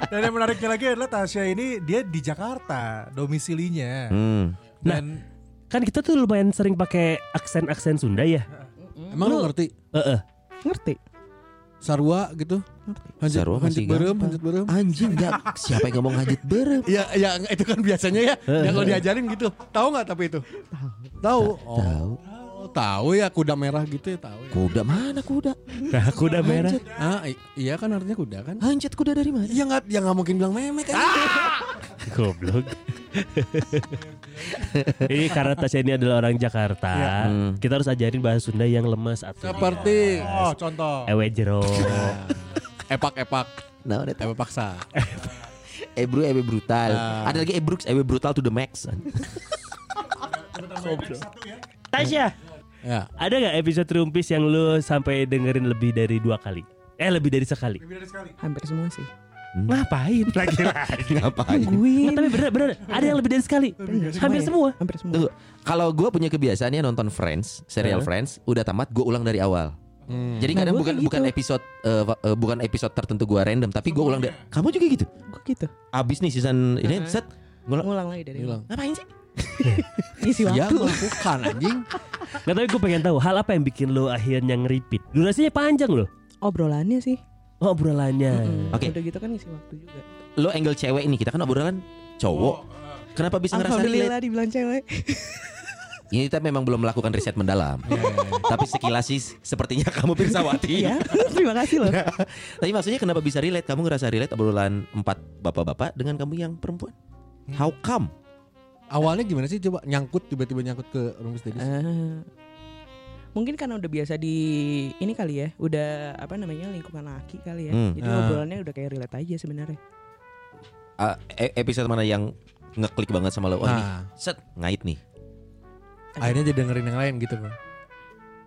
C: Dan yang menariknya lagi adalah Tasya ini dia di Jakarta, domisilinya.
E: Hmm.
C: Dan
A: kan kita tuh lumayan sering pakai aksen-aksen Sunda ya.
B: Emang lu
A: Lu-
B: ngerti
A: Heeh.
G: Ngerti?
B: Sarwa gitu?
G: Ngerti.
B: Hanjut,
E: Sarwa
B: hanjut
E: masih
B: berem,
E: gampang.
B: hanjut berem.
E: Anjing nggak siapa yang ngomong hajit berem?
B: Ya, ya itu kan biasanya ya. ya kalau diajarin gitu. Tahu nggak tapi itu? Tahu.
E: Tahu.
B: Oh, tahu ya kuda merah gitu ya tahu ya.
E: Kuda mana kuda?
A: Nah, kuda merah.
B: Ah, i- iya kan artinya kuda kan?
E: Hanjat kuda dari mana?
B: Ya nggak, ya nggak mungkin bilang memek kan?
A: Goblok. ini karena Tasya ini adalah orang Jakarta.
F: Iya.
E: Hmm.
A: Kita harus ajarin bahasa Sunda yang lemes Eh, atau
B: Seperti
C: oh contoh.
A: ewe jero.
B: epak-epak,
E: Nah, udah tahu.
B: epak paksa.
E: Ebru, Ebru brutal.
B: Ah.
E: Ada lagi Ebrux, Ebru brutal to the max.
A: Tasya,
B: Ya.
A: ada nggak episode Rumpis yang lu sampai dengerin lebih dari dua kali? Eh lebih dari sekali.
C: Lebih dari sekali.
G: Hampir semua sih.
A: Ngapain? Lagi-lagi.
E: Ngapain?
A: Nggak, tapi bener bener ada yang lebih dari sekali.
G: Iya,
A: Hampir semua.
G: Hampir semua.
E: Tuh, kalau gue punya kebiasaannya nonton Friends, serial Friends, udah tamat gue ulang dari awal.
B: Hmm.
E: Jadi
G: Nah,
E: kadang
G: gua
E: bukan
G: kayak
E: bukan episode eh, fa- eh, bukan episode tertentu gue random, tapi gue ulang dari.
G: Iya.
E: Kamu juga gitu?
G: Gue gitu.
E: Abis nih season ini
G: Uh-huh.
E: set.
G: Ngulang lagi dari
B: Hilang.
E: Ngapain sih?
G: Isi
B: Ya
G: waktu.
B: melakukan anjing.
A: Nggak, tapi gue pengen tahu hal apa yang bikin lu akhirnya ngeripit. Durasinya panjang loh.
G: Obrolannya sih.
A: Oh, obrolannya.
G: Mm-mm.
E: Oke.
G: Udah gitu kan ngisi waktu juga.
E: Lo angle cewek nih kita kan obrolan
G: Oh,
E: cowok.
G: eh.
E: Kenapa bisa ngerasa relate?
G: Alhamdulillah dibilang cewek.
E: Ini kita memang belum melakukan riset mendalam. Tapi sekilas sih sepertinya kamu Pirsawati.
G: Iya. Terima kasih loh.
E: Tapi maksudnya kenapa bisa relate? Kamu ngerasa relate obrolan empat bapak-bapak dengan kamu yang perempuan?
G: Hmm.
E: How come?
B: Awalnya gimana sih coba nyangkut tiba-tiba nyangkut ke rumpis tadi?
G: Ah. Mungkin karena udah biasa di ini kali ya, udah apa namanya lingkungan laki kali ya.
E: Hmm.
G: Jadi
B: Ah.
G: obrolannya udah kayak relate aja sebenarnya.
E: Ah, e- episode mana yang ngeklik banget sama lo? Oh, ini
B: Nah,
E: set ngait nih.
B: akhirnya jadi dengerin yang lain gitu kan.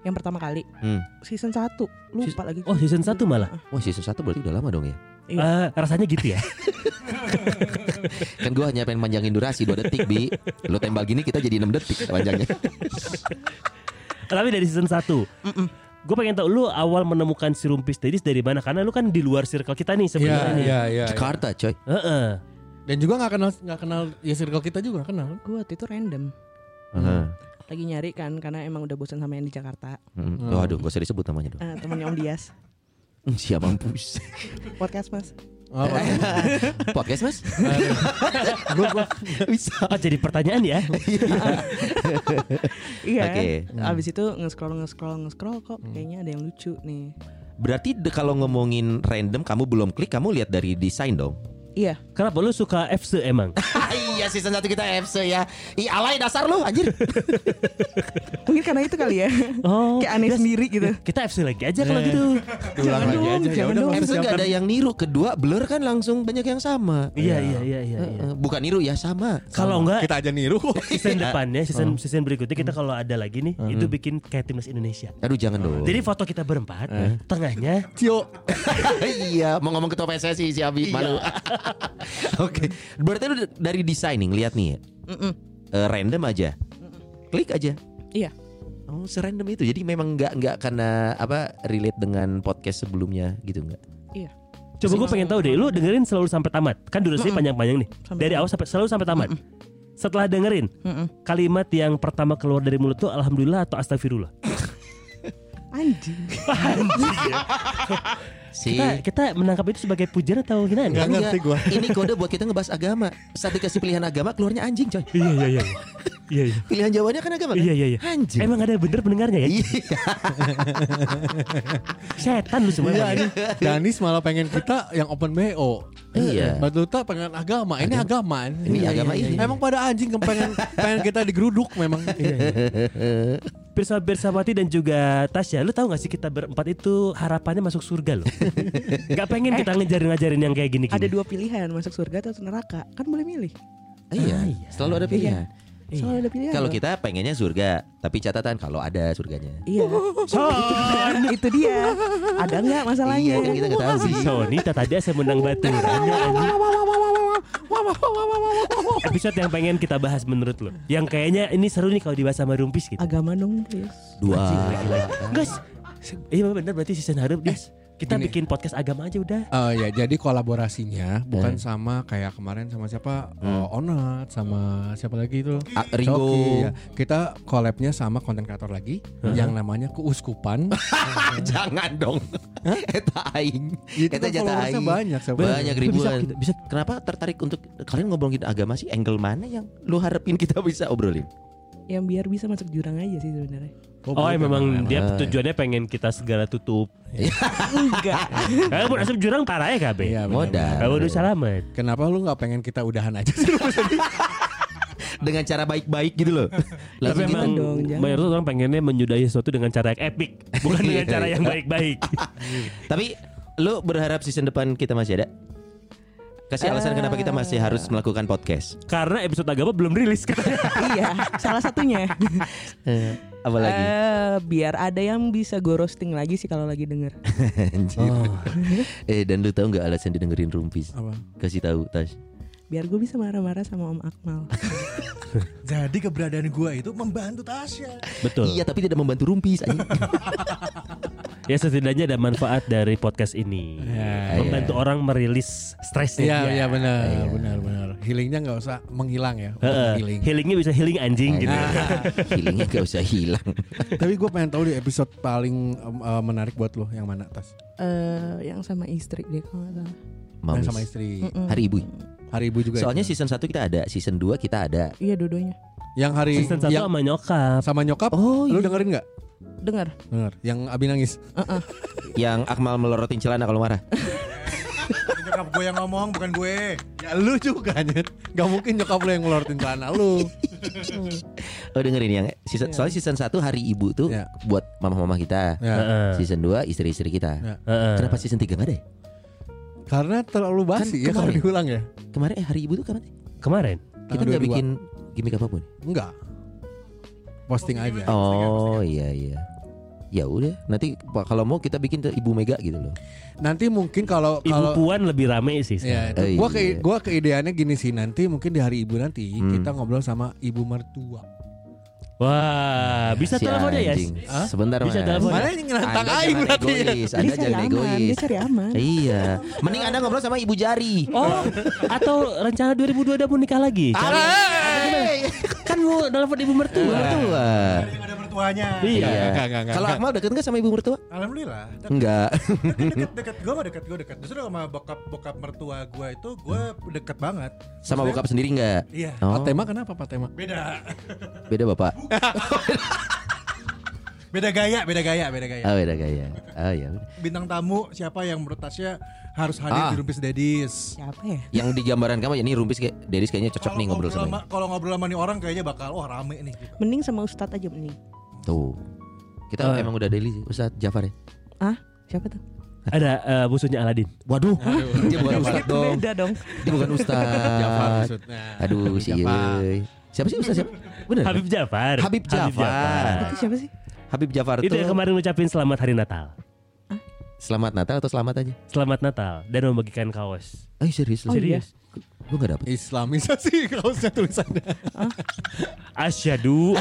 G: Yang pertama kali
E: Hmm.
G: season 1 lupa
E: Season-
G: lagi. Eh,
A: Oh, season 1 malah.
E: Wah season 1 berarti udah lama dong ya
G: Iya.
A: Eh, rasanya gitu ya.
E: Kan gue hanya pengen panjangin durasi 2 detik Bi Lo tembak gini kita jadi 6 detik panjangnya
A: Tapi dari season 1 Gue pengen tahu lu awal menemukan si Rumpis Tedis dari mana Karena lu kan di luar circle kita nih
B: Iya,
A: sebenarnya
B: iya, iya.
E: Jakarta coy
A: Heeh.
B: Dan juga nggak kenal nggak kenal ya circle kita juga nggak kenal.
G: Gue waktu itu random.
E: Heeh.
G: lagi nyari kan karena emang udah bosan sama yang di Jakarta.
E: Hmm.
B: Hmm.
E: Oh, aduh, gak usah disebut namanya dong.
G: Eh, temennya Om Dias,
E: Hmm, Siap mampus.
G: podcast mas.
B: Oh,
E: Podcast mas? Bisa.
A: Oh jadi pertanyaan ya.
G: Iya.
E: Oke.
G: Abis itu nge-scroll nge-scroll nge-scroll kok
E: Hmm.
G: kayaknya ada yang lucu nih.
E: Berarti de- kalau ngomongin random, kamu belum klik, kamu lihat dari desain dong.
G: Iya.
A: Kenapa lu suka FC emang?
E: Ah, iya season 1 kita FC ya. Ih alay dasar lu anjir.
G: Mungkin karena itu kali ya.
A: Oh,
G: Kayak aneh
A: das-
G: sendiri gitu.
E: Iya.
A: Kita FC lagi aja kalau gitu.
B: Diulang
G: Jangan
B: lagi
G: dong,
B: aja. Ya
G: jangan
B: udah,
G: dong.
E: FC nggak ada yang niru. Kedua blur kan langsung banyak yang sama.
A: Iya iya iya iya. iya.
E: Eh, Bukan niru ya sama.
A: Kalau enggak
B: kita aja niru.
A: season depannya, season season berikutnya kita kalau ada lagi nih, itu bikin kayak timnas Indonesia.
E: Aduh jangan dong.
A: Jadi foto kita berempat, tengahnya
B: Cio.
E: iya, mau ngomong ketua PSSI si
A: Iya.
E: Abi malu. Oke. Berarti lu d- dari designing lihat nih ya.
G: Mm-mm.
E: Eh, random aja. Klik aja.
G: Iya.
E: Oh, serandom itu. Jadi memang nggak nggak karena apa relate dengan podcast sebelumnya gitu nggak?
G: Iya.
A: Coba gue pengen tahu deh, lu dengerin selalu sampai tamat. Kan durasinya panjang-panjang nih.
G: Sampai
A: Dari awal sampai selalu sampai tamat. Setelah dengerin,
G: Mm-mm.
A: kalimat yang pertama keluar dari mulut tuh alhamdulillah atau astagfirullah.
G: Anjing.
E: Si
A: Kita, kita menangkap itu sebagai pujian atau hinaan? ya?
B: Nggak
E: Enggak.
B: ngerti gua.
E: Ini kode buat kita ngebahas agama. Saat dikasih pilihan agama keluarnya anjing coy.
A: Iya iya iya. Iya iya.
E: Pilihan jawabannya kan agama. kan?
A: Iya iya iya.
E: Anjing.
A: Emang ada bener pendengarnya ya?
E: Iya.
A: Setan lu semua.
B: Iya,
A: emang.
B: ini Danis malah pengen kita yang open BO.
E: Iya.
B: Batu Tuta pengen agama. Ini agama. Iya,
E: Ini agama ini.
B: Emang pada anjing pengen pengen kita digeruduk memang. Iya,
A: Pirsa Bersawati dan juga Tasya, lu tahu gak sih kita berempat itu harapannya masuk surga loh. gak pengen kita ngejarin-ngajarin yang kayak gini-gini.
G: Ada dua pilihan masuk surga atau neraka. Kan boleh milih.
E: Iya.
A: iya.
E: Selalu ada pilihan.
G: Selalu ada pilihan.
E: Iya. Kalau
G: loh.
E: kita pengennya surga, tapi catatan kalau ada surganya.
G: Iya. Itu- itu dia. Ada nggak masalahnya?
E: Iya, kan kita nggak tahu
A: Si
E: sih.
A: Sonita tadi saya menang batu. Tanya, anjing. Episode yang pengen kita bahas menurut lo, yang kayaknya ini seru nih kalau dibahas sama Rumpis gitu.
G: Agama dong, please.
E: Dua. Iya.
A: Ah, Guys, se- iya bener berarti season harap guys. Eh, Kita
B: gini.
A: bikin podcast agama aja udah.
B: Oh ya, jadi kolaborasinya
E: Iya.
B: bukan sama kayak kemarin sama siapa
E: Hmm.
B: oh, Onat sama siapa lagi itu
E: Ah, Ringo.
B: Coki, ya. Kita collabnya sama konten kreator lagi yang namanya Keuskupan.
E: Ah, Jangan dong. Eta aing.
B: Itu
E: Eta
B: kan
E: jata
B: followersnya
E: aing.
B: banyak siapa?
E: Iya, Banyak
A: Itu bisa
E: ribuan.
A: kita- bisa-
E: Kenapa tertarik untuk kalian ngobrolin agama sih? Angle mana yang lu harapin kita bisa obrolin?
G: Yang biar bisa masuk jurang aja sih sebenarnya.
A: Oh,
B: iya,
A: memang dia tujuannya pengen kita segala tutup.
G: Enggak.
A: Kalau pun asap jurang parah ya KB.
B: Iya, benar.
E: Modal.
A: Kalau udah salaman.
B: Kenapa lu nggak pengen kita udahan aja sih?
E: Dengan cara baik-baik gitu loh.
A: Tapi
E: Langsung
A: emang
E: gitu.
G: dong, jangan.
A: mayoritas orang pengennya menyudahi sesuatu dengan cara yang epic, bukan dengan
E: Iya,
A: cara
E: iya.
A: yang baik-baik.
E: Tapi lu berharap season depan kita masih ada? Kasih alasan kenapa kita masih harus melakukan podcast.
A: Karena episode agama belum rilis kan? katanya.
G: iya, salah satunya.
E: Eh, apa lagi?
G: Eh, biar ada yang bisa gue roasting lagi sih kalau lagi denger.
E: Anjir.
B: Ah.
E: eh dan lu tahu nggak alasan didengerin rumpis? Kasih tahu Tash.
G: Biar gue bisa marah-marah sama Om Akmal.
C: Jadi keberadaan gua itu membantu Tasya.
A: Betul.
E: Iya tapi tidak membantu rumpis. anjing.
A: Ya setidaknya ada manfaat dari podcast ini.
B: Ya,
A: Membantu orang merilis stresnya.
B: Iya,
A: dia.
B: iya benar, benar, benar. Healingnya nggak usah menghilang ya,
A: Heeh.
B: untuk healing.
A: Healingnya bisa healing anjing gitu.
E: Nah, ya. Healingnya gak Ah, usah hilang.
B: Tapi gue pengen tahu di episode paling em, eh, menarik buat lo yang mana tas?
G: Eh, yang sama istri deh kalau nggak salah.
E: Mampus. Mm.
B: Yang sama istri.
E: Hari ibu.
B: Hari ibu juga. ya?
E: Soalnya
B: itu.
E: season 1 kita ada, season 2 kita ada.
G: Iya dua-duanya.
B: yang hari
A: Season satu
B: yang
A: sama nyokap.
B: sama nyokap,
G: iya.
E: Oh,
B: lu dengerin nggak?
G: Dengar.
B: Dengar. Yang abi nangis.
E: Yang Akmal melorotin celana kalau marah.
C: Nyokap gue yang ngomong bukan gue.
B: Ya lu juga nyet. Gak mungkin nyokap lu yang ngelorotin celana lu.
E: Oh dengerin yang season, soalnya season 1 hari ibu tuh
B: Iya.
E: buat mama-mama kita.
B: Ya.
A: Heeh.
E: Season 2 istri-istri kita.
B: Iya.
A: Heeh.
E: Kenapa season 3 gak ada ya?
B: Karena terlalu
E: Kan
B: basi ya kalau
E: kemarin.
B: diulang ya.
E: Kemarin eh hari ibu tuh kapan? sih?
A: Kemarin.
E: Kita
B: Tanggal
E: nggak
B: 22.
E: bikin gimmick apapun.
B: Enggak. Posting aja.
E: Oh iya iya. Ya udah, nanti kalau mau kita bikin ke Ibu Mega gitu loh.
B: Nanti mungkin kalau
A: Ibu
B: kalau
A: Puan lebih rame sih. sekarang.
B: Ya, itu.
E: Eh,
B: gua
E: iya.
B: ke gua keideannya gini sih nanti mungkin di hari ibu nanti kita ngobrol sama ibu mertua.
A: Wah, bisa
E: Si
A: teleponnya ya?
E: anjing. Sebentar
A: Bisa
E: Mas.
A: telepon.
B: Mana yang ngelantang
E: Anda
B: aing
E: iya. jangan
B: berarti ya.
E: egois, Anda jangan
G: Jadi cari aman,
E: egois.
G: dia cari aman.
E: Iya. Mending Anda ngobrol sama Ibu Jari.
A: Oh, atau rencana 2002 ada mau nikah lagi? Cari-
E: Tarai.
A: Kan mau telepon ibu mertua.
E: Mertua.
C: Yang ada mertuanya.
A: Iya.
E: Iya.
B: Enggak, enggak, enggak,
E: Kalau
B: enggak.
E: Akmal deket nggak sama ibu mertua?
C: Alhamdulillah.
E: Enggak.
C: Deket-deket gue mah deket gue deket. Justru sama bokap bokap mertua gue itu gue deket banget.
E: Sama
C: Maksudnya-
E: bokap sendiri nggak?
C: Iya.
E: Oh,
B: Pak Tema kenapa Pak Tema?
C: Beda.
E: beda bapak.
C: Beda gaya, beda gaya, beda gaya.
E: Ah beda gaya. Ah ya. udah.
C: Bintang tamu siapa yang menurut Tasya harus hadir
E: Ah.
C: di Rumpis Daddies?
G: Siapa ya?
E: Yang di gambaran kamu ya ini rumpis kayak Dedis kayaknya cocok
C: Kalau
E: nih ngobrol sama
C: sama
E: ini.
C: kalau ngobrol sama nih orang kayaknya bakal wah rame nih gitu.
G: Mending sama Ustadz aja mending.
E: Tuh. Kita
A: Ah.
E: emang udah daily sih Ustaz Jafar ya.
G: Siapa tuh?
A: Ada eh, musuhnya Aladin.
E: Waduh. Dia bukan
B: Jafar.
E: Ustaz
G: Itu
E: dong.
G: beda dong.
E: Dia bukan
B: Jafar
E: Ustaz.
B: maksudnya.
E: Ah, Aduh si
B: Jafar.
E: Ieuy. Siapa sih Ustaz siapa? Bener. kan?
A: Habib Jafar.
E: Habib Jafar.
G: Itu siapa sih?
E: Habib Jafar
A: ya. Itu yang
E: tuh
A: kemarin ngucapin selamat hari Natal.
E: Selamat Natal atau selamat aja?
A: Selamat Natal dan membagikan kaos.
E: Eh serius lu?
A: Oh, Serius.
E: Gue gak dapet
B: Islamisasi kaosnya tulisannya.
A: Asyadu.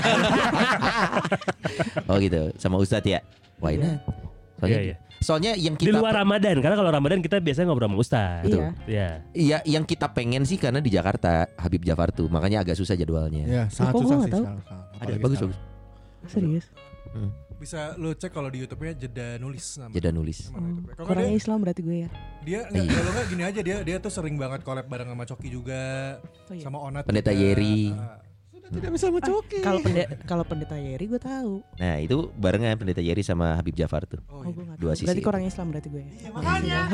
E: Oh gitu Sama Ustadz ya Why not? Soalnya,
A: Iya, iya.
E: soalnya yang
A: Di
E: kita
A: luar Ramadan karena kalau Ramadan kita biasanya ngobrol sama Ustaz.
G: Iya.
A: Iya.
E: Iya, yang kita pengen sih karena di Jakarta Habib Jafar tuh, makanya agak susah
A: Iya.
E: jadwalnya.
B: Ya, sangat
G: Kok gua
B: susah
G: nggak
B: sih.
G: tahu?
B: sekarang. Apalagi
E: Ada bagus
B: sekarang.
E: bagus.
G: Serius?
C: Bisa lu cek kalau di YouTube-nya jeda nulis namanya.
E: Jeda nulis.
G: Oh.
E: Iya.
C: Sama YouTube-nya. Kalau nggak
G: Kurangnya
C: dia,
G: Islam berarti gue ya.
C: dia nggak- kalau nggak gini aja dia dia tuh sering banget collab bareng sama Coki juga,
G: Oh, iya. Ah,
C: sama Onat.
E: Pendeta
C: juga.
E: Yeri.
C: Ah.
B: Tidak bisa sama Coki.
G: Kalau pende- kalau pendeta Yeri gue tahu.
E: Nah itu barengan Pendeta Yeri sama Habib Jafar tuh.
C: Oh,
G: Oh,
C: iya.
G: gue nggak
E: Dua
G: tahu.
E: sisi
G: Berarti
E: itu.
G: kurang Islam berarti gue ya.
C: Iya makanya.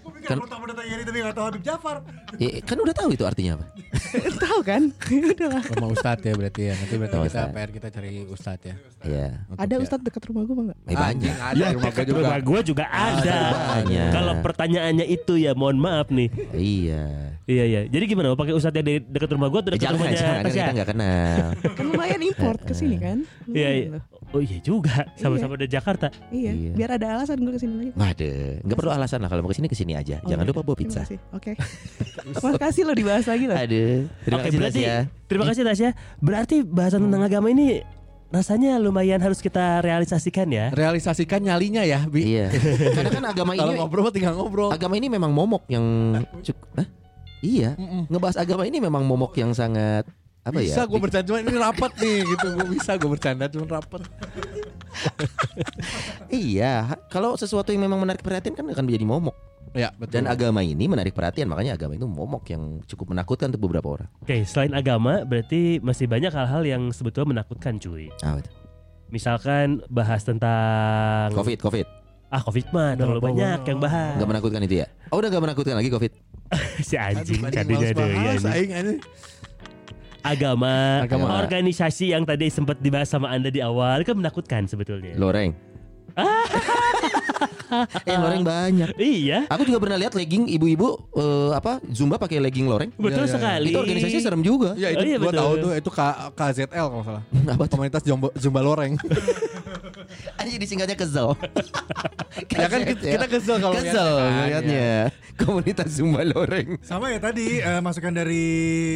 C: Gue pikir
E: Kan-
C: lu tahu pendeta Yeri tapi nggak tahu Habib Jafar.
E: Eh, kan udah tahu itu artinya apa?
G: tahu kan? Udahlah.
B: Sama Ustadz ya berarti ya. Nanti berarti
E: Sama
B: kita
E: Ustadz.
B: PR kita cari Ustadz ya.
E: Iya.
B: Untuk
G: Ada
B: ya.
G: Ustadz dekat rumah gue enggak?
E: Eh, banyak.
B: Anjing, ada di rumah gue juga.
A: Rumah gue juga ada.
E: banyak.
A: Kalau pertanyaannya itu ya mohon maaf nih.
E: Iya.
A: Iya iya. Jadi gimana? Mau pakai Ustaz yang dari dekat rumah gue atau
E: Eh,
A: dekat
E: jangan,
A: rumahnya
E: jangan, kan
A: Tasya?
E: kita nggak kenal.
G: Kan lumayan import ke sini kan?
A: Iya, iya.
G: Lumayan loh.
A: Oh iya juga. Sama-sama dari Jakarta.
G: Iya.
E: Iya.
G: Biar ada alasan gue kesini lagi.
E: Nggak ada. Nggak perlu alasan lah kalau mau kesini kesini aja.
G: Oh,
E: jangan
G: iya.
E: lupa bawa pizza.
G: Terima kasih. Oke. Makasih lo dibahas lagi loh.
E: Ada. Terima
A: Oke,
E: kasih
A: berarti
E: Tasya. Hmm.
A: terima kasih Tasya. Berarti bahasan tentang agama ini rasanya lumayan harus kita realisasikan ya.
B: Realisasikan nyalinya ya, Bi.
E: Iya. Karena kan agama ini
B: Kalau ngobrol tinggal ngobrol.
E: agama ini memang momok yang cukup. Hah? Iya.
B: Mm-mm.
E: Ngebahas agama ini memang momok yang sangat apa ya?
B: bisa gue bercanda cuman ini rapat nih gitu gue bisa gue bercanda cuman rapat
E: Iya, ha- kalau sesuatu yang memang menarik perhatian kan akan menjadi momok.
B: ya betul
E: Dan agama ini menarik perhatian, makanya agama itu momok yang cukup menakutkan untuk beberapa orang.
A: Oke, selain agama berarti masih banyak hal-hal yang sebetulnya menakutkan cuy.
E: Ah, betul.
A: Misalkan bahas tentang
E: Covid, Covid,
A: Ah, Covid mah terlalu
B: Berapa
A: banyak
B: banyak?
A: yang bahas.
E: nggak menakutkan itu ya? Oh, udah nggak menakutkan lagi Covid.
A: si anjing
B: Aduh,
A: tadinya
B: males
A: ada ya.
B: bahas, aing, anjing.
A: Agama,
B: Agama.
A: organisasi yang tadi sempat dibahas sama Anda di awal kan menakutkan sebetulnya.
E: Loreng.
G: Ah.
E: eh, loreng banyak.
A: Iya,
E: Aku juga pernah lihat legging ibu-ibu eh, apa Zumba pakai legging loreng.
A: betul
B: Iya, iya.
A: sekali.
E: Itu organisasi serem juga.
B: ya itu
A: Oh, iya,
B: gue
A: betul.
B: tahu tuh itu K KZL kalau nggak salah
E: apa tuh?
B: komunitas Jombo, Jumba Loreng
E: Anjir disingkatnya kezel.
B: ya kan kita, kita kesel kalau Ah, iya.
E: kezel lihatnya. Iya. Komunitas Zumba loreng.
C: Sama ya tadi eh, masukan dari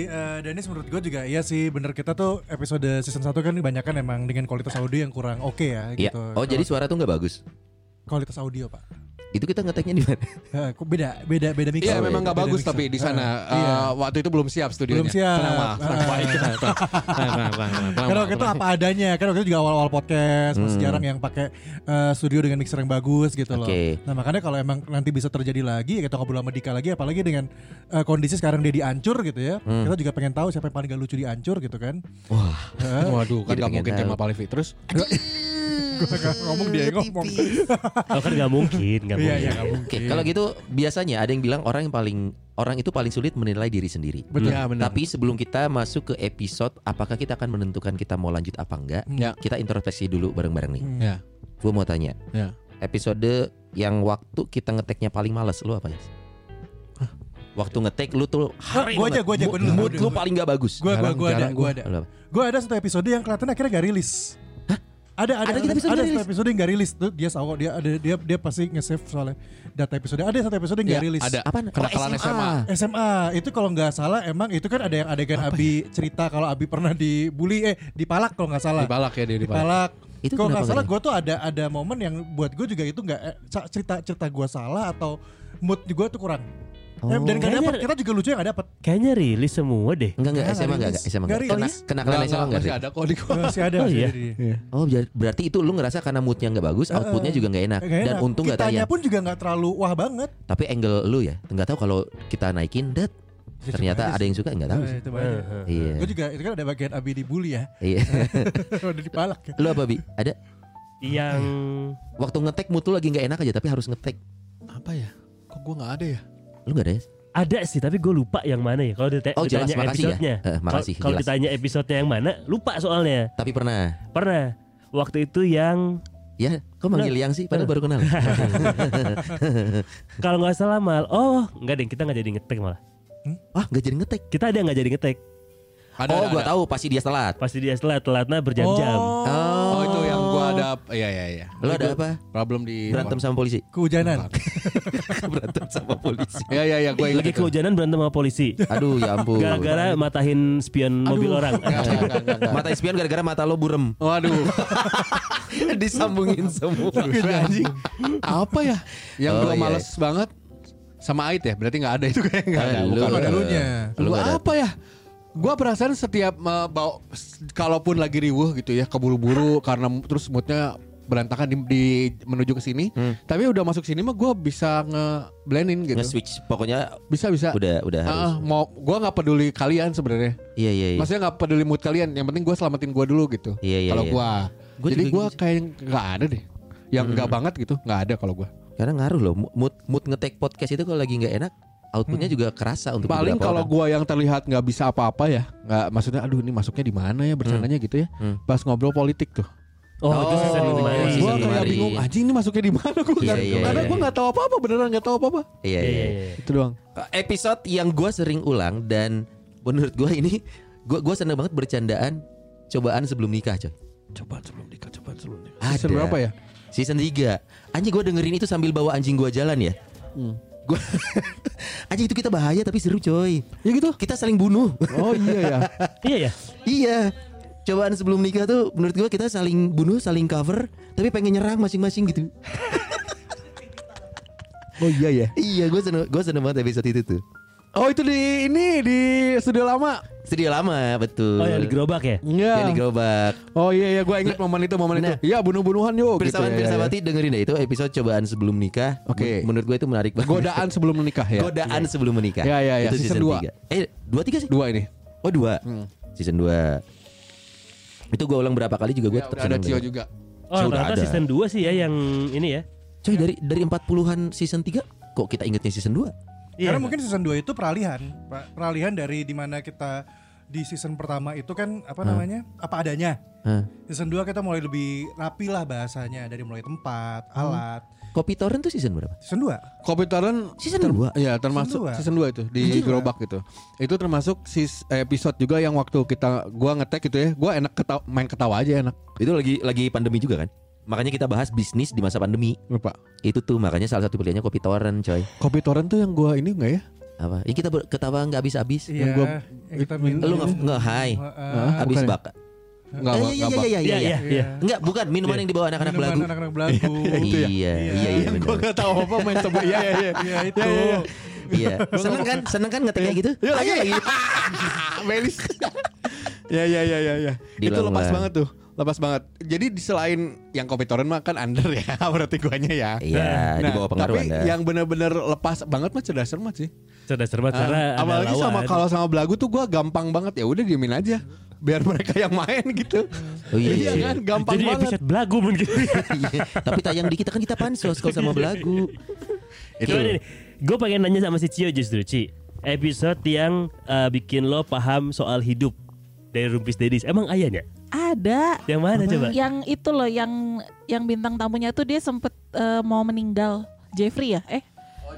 C: eh, Dennis menurut gue juga iya sih bener kita tuh episode season 1 kan kebanyakan emang dengan kualitas audio yang kurang oke ya
E: Iya.
C: gitu.
E: Oh, jadi suara tuh nggak bagus.
C: kualitas audio pak.
E: Itu kita ngeteknya di mana?
C: Eh, kok beda beda beda mix.
B: Iya
E: Oh,
B: memang
E: iya,
B: nggak
C: beda
B: bagus
C: mixer.
B: tapi di sana
C: Eh, iya.
B: eh, waktu itu belum siap Ah. studionya.
C: Belum siap.
B: Tenang Mal. Tenang,
C: Eh.
B: Mal. Tenang, tenang, tenang, tenang, tenang,
C: Karena
B: Mal,
C: waktu itu
B: tenang.
C: apa adanya Kan waktu itu juga awal-awal podcast Masih
E: Hmm.
C: jarang yang pakai eh, studio dengan mixer yang bagus gitu loh
E: Oke.
C: Nah makanya kalau emang nanti bisa terjadi lagi ya Kita ngobrol sama Dika lagi Apalagi dengan eh, kondisi sekarang dia diancur gitu ya
E: Hmm.
C: Kita juga pengen tahu siapa yang paling gak lucu diancur gitu kan
E: Wah.
C: Heeh.
B: Waduh, kan
E: Jadi
B: nggak
E: pengen
B: mungkin
E: tahu.
B: Kemal Palevi terus.
C: Gua nggak ngomong dia yang ngomong
A: Oh, kan nggak mungkin, nggak
C: Iya
A: mungkin.
C: iya nggak mungkin
E: Oke, kalau gitu biasanya ada yang bilang orang yang paling orang itu paling sulit menilai diri sendiri.
C: Betul.
B: Ya, benar.
E: Tapi sebelum kita masuk ke episode apakah kita akan menentukan kita mau lanjut apa enggak,
B: Ya.
E: kita introspeksi dulu bareng-bareng nih.
C: Hmm.
B: Ya.
E: Gue mau tanya.
B: Ya.
E: Episode yang waktu kita ngeteknya paling males lu apa ya? Waktu ngetek lu tuh hari
C: Gua aja,
E: banget.
C: gua aja, gua dulu,
E: mood
C: gua
E: lu
C: dulu.
E: paling nggak bagus.
C: Ya, Gua gua
B: Jarang-
C: gua ada
B: jarang
C: gua
B: gua.
C: ada
E: Lu apa?
C: Gue ada satu episode yang kelihatan akhirnya gak rilis Ada ada
E: Ada
C: ada,
E: kita episode
C: ada
E: nggak
C: satu
E: rilis?
C: episode yang gak rilis tuh dia tahu dia ada dia dia pasti nge-save soalnya data episode ada satu episode yang
B: Ya,
C: gak
E: Iya,
C: rilis
B: ada.
E: Apaan?
B: Kenakalan
E: Oh,
B: SMA.
C: SMA itu kalau nggak salah emang itu kan ada yang adegan
E: ya?
C: Abi cerita kalau Abi pernah dibully eh dipalak kalau nggak salah
B: Dibalak ya dia dibalak.
C: dipalak
E: Itu
C: kalau nggak
E: kenapa
C: salah
E: gak
C: gue tuh ada ada momen yang buat gue juga itu nggak eh, cerita cerita gue salah atau mood gue tuh kurang
E: Oh.
C: Eh, dan gak dapet,
A: Kayaknya-
C: kita juga lucu yang gak dapet
A: Kayaknya rilis semua deh.
E: Enggak enggak
C: Nggak
E: SMA enggak
C: rilis. Nggak
E: SMA enggak. Kena
C: rilis.
E: kena kena SMA enggak sih?
B: masih ada kok di gua.
C: Masih ada
A: Oh,
C: masih
A: iya.
C: ada di-
B: Iya.
E: Oh ber- berarti itu lu ngerasa karena moodnya nggak bagus,
C: Eh,
E: outputnya
C: eh.
E: juga nggak enak.
C: Nggak
E: Dan
C: enak.
E: untung nggak
C: Kitanya
E: tayang.
C: pun juga gak terlalu wah banget
E: Tapi angle lu ya, nggak tahu kalau kita naikin, dat
C: Ya,
E: ternyata
C: coba aja
E: ada yang suka nggak tahu.
C: sih.
E: sih.
C: Eh, coba aja.
E: Iya.
C: Gue juga itu kan ada bagian Abi dibully ya.
E: Iya.
C: Udah dipalak ya.
E: Lu apa bi? Ada
A: Yang
B: Iya.
E: waktu ngetek mood lu lagi nggak enak aja, tapi harus ngetek.
B: Apa ya? Kok gua nggak ada ya?
E: Lu nggak ada ya?
A: ada sih tapi gue lupa yang mana ya. Kalau dite-
E: Oh, jelas,
A: ditanya
E: makasih ya.
A: episodenya.
E: Eh, makasih,
A: Kalau- Kalau
E: jelas.
A: ditanya episodenya yang mana, lupa soalnya.
E: Tapi pernah.
A: Pernah waktu itu yang
E: Ya, kok manggil yang sih? Padahal baru kenal.
A: kalau nggak salah mal, oh nggak deh kita nggak jadi ngetek malah.
E: Wah, Ah, nggak jadi ngetek.
A: Kita ada yang nggak jadi ngetek.
B: Ada,
E: oh,
B: ada,
E: gua
B: ada.
E: tahu pasti dia telat.
A: Pasti dia telat telatnya berjam-jam.
E: Oh,
B: Oh, itu yang gua ada iya iya iya.
E: Lu ada apa?
B: Problem di
E: Berantem sama polisi.
C: Kehujanan.
E: Iya. Berantem sama polisi.
B: Iya iya iya gua ingat.
A: Lagi
B: itu.
A: kehujanan berantem sama polisi.
E: Aduh, ya ampun.
A: Gara-gara matahin spion mobil orang.
B: Nggak, nggak, nggak, nggak, nggak.
E: mata espion gara-gara mata lo burem.
B: Waduh.
E: Disambungin semua.
B: anjing. Apa ya? Yang
E: Oh,
B: gua
E: iya.
B: males banget sama Ait ya. Berarti nggak ada itu kayak nggak ada.
E: Eh,
B: Bukan.
C: Ada
E: eh,
C: lunya.
E: Lu
B: Lu
E: nggak ada.
B: apa ya? Gua perasaan setiap eh, bawa s- kalaupun lagi riuh gitu ya, keburu-buru karena m- terus moodnya berantakan di, di- menuju ke sini.
E: Hmm.
B: Tapi udah masuk sini mah gua bisa nge-blendin gitu.
E: Nge-switch. Pokoknya
B: Bisa bisa.
E: udah udah
B: Ah,
E: harus.
B: mau gua nggak peduli kalian sebenarnya.
E: Iya, iya, iya.
B: Maksudnya nggak peduli mood kalian, yang penting gua selamatin gua dulu gitu.
E: Iya, iya,
B: kalau
E: iya.
B: gua.
E: Gua
B: Jadi
E: juga
B: gua
E: gitu
B: kayak nggak ada deh. Yang nggak banget gitu, nggak ada kalau gua.
E: Karena ngaruh loh mood mood ngetek podcast itu kalau lagi nggak enak outputnya juga kerasa untuk
B: Paling
E: beberapa
B: kalau
E: orang.
B: gua yang terlihat nggak bisa apa-apa ya, nggak maksudnya aduh ini masuknya di mana ya bercandanya gitu ya.
E: Hmm.
B: Pas ngobrol politik tuh.
A: Oh, itu
E: Oh,
A: season kemarin.
E: season
B: Gua
E: Iya,
B: kayak
E: kemarin.
B: bingung, anjing ini masuknya di mana
E: Iya,
B: gua nggak-
E: iya,
B: Karena
E: iya.
B: gua nggak tahu apa-apa beneran nggak tahu apa-apa.
E: Iya,
A: Iya,
E: iya,
A: iya,
E: iya.
A: iya.
B: Itu doang.
E: Episode yang gua sering ulang dan menurut gua ini gua gua seneng banget bercandaan cobaan sebelum nikah coy.
B: Coba sebelum nikah, coba sebelum nikah.
E: Ada.
B: Season berapa ya?
E: Season 3 Anjing gua dengerin itu sambil bawa anjing gua jalan ya.
B: Hmm.
E: Gua anjing itu kita bahaya tapi seru coy.
B: Ya gitu.
E: Kita saling bunuh.
B: Oh iya ya.
A: Iya ya.
E: Iya Cobaan sebelum nikah tuh menurut gua kita saling bunuh, saling cover Tapi pengen nyerang masing-masing gitu
B: Oh iya ya.
E: Iya gue seneng, gua seneng banget episode itu tuh
B: Oh itu di ini di studio lama.
E: Studio lama betul
A: Oh, yang digerobak ya.
B: Iya.
E: Yang di gerobak
B: Oh iya iya gue ingat momen itu momen
E: Nah.
B: itu. Iya bunuh-bunuhan yuk.
E: Bersama
B: gitu, ya, ya,
E: Bersawati dengerin deh itu episode cobaan sebelum nikah
B: Oke.
E: Men- Menurut gue itu menarik
B: ya.
E: banget
B: Godaan sebelum menikah ya.
E: Godaan sebelum menikah
B: Ya, ya, ya.
E: Itu
B: Season
E: season,
B: dua.
E: 3 Eh 2 3 sih
B: Dua ini.
E: Oh 2
B: Hmm.
E: Season 2 Itu gue ulang berapa kali juga gue
B: Ya,
E: tetap
B: udah ada
E: seneng
B: Cio
E: banget.
B: juga.
A: Oh,
E: Sudah
A: ternyata
E: ada.
A: season 2 sih ya yang ini ya.
E: Coy dari, dari 40an season 3 Kok kita ingetnya season 2
A: Iya.
C: Karena mungkin season 2 itu peralihan, Pak. Peralihan dari dimana kita di season pertama itu kan apa namanya? Apa adanya.
E: Hah.
C: Season 2 kita mulai lebih rapi lah bahasanya dari mulai tempat,
E: Hmm.
C: alat.
E: Kopi Torrent tuh season berapa?
C: Season 2.
B: Kopi Torrent
E: Season 2
B: Ya termasuk
C: dua.
B: season 2 itu di gerobak gitu. Itu termasuk sis, episode juga yang waktu kita gua ngetek gitu ya. Gua enak ketawa, main ketawa aja enak.
E: Itu lagi lagi pandemi juga kan? Makanya kita bahas bisnis di masa pandemi.
B: Lupa.
E: Itu tuh makanya salah satu pilihannya kopi Torrent coy.
B: Kopi Torrent tuh yang gua ini enggak ya?
E: Apa? Ini kita ber- ketawa nggak habis habis.
C: Iya.
B: gua-
C: yang kita minum.
E: Lu nge, nge hai.
C: Heeh.
B: Hah?
E: Habis
B: bukan ya?
E: bak.
B: Enggak,
E: Eh,
B: enggak,
E: iya,
B: enggak.
E: iya, iya, iya, iya.
A: iya.
E: Enggak, bukan minuman yang dibawa anak-anak
C: Minuman
E: belagu.
C: Anak-anak belagu.
E: Iya, iya, iya, iya,
B: Yang gua
E: benar.
B: enggak tahu apa main coba. Iya
E: Ya,
B: iya iya.
C: Iya itu.
E: Iya. Seneng kan? Seneng kan ngetik kayak gitu?
B: Iya lagi lagi. Melis. Ya ya ya ya ya. Itu
E: Dilawan.
B: lepas banget tuh. Lepas banget. Jadi di selain yang kopi Torrent mah kan under ya berarti guanya ya.
E: Iya, di bawah pengaruh
B: tapi ya
E: Anda.
B: yang bener-bener lepas banget mah cerdas cermat sih.
A: Oh, cerdas cermat
B: Ah,
A: karena ada
B: apalagi sama
A: lawan.
B: kalau sama belagu tuh gua gampang banget ya udah diemin aja biar mereka yang main gitu.
E: Oh iya,
B: Jadi
E: iya, iya.
B: kan gampang
A: Jadi
B: banget.
A: episode belagu mungkin.
E: Iya. Tapi tayang di kita kan kita pansos kalau sama belagu.
A: Coba nih, gue pengen nanya sama si Cio justru Ci. Episode yang eh, bikin lo paham soal hidup dari Rumpis Dedis. Emang ayahnya?
H: Ada
A: Yang mana coba?
H: yang itu loh yang yang bintang tamunya tuh dia sempet eh, mau meninggal Jeffrey ya? Eh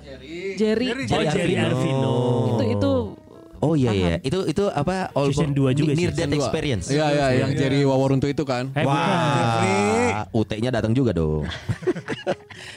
H: Jerry.
C: Jerry.
A: Oh Jerry
E: Arvino.
A: Arvino.
H: Itu itu
E: Oh iya iya, itu itu apa?
A: Season dua juga
E: near
A: sih,
E: death
B: Dua.
E: experience.
B: Iya ya yang Jerry Waworuntu itu kan.
A: Eh, bukan.
E: Wah, UT-nya datang juga dong.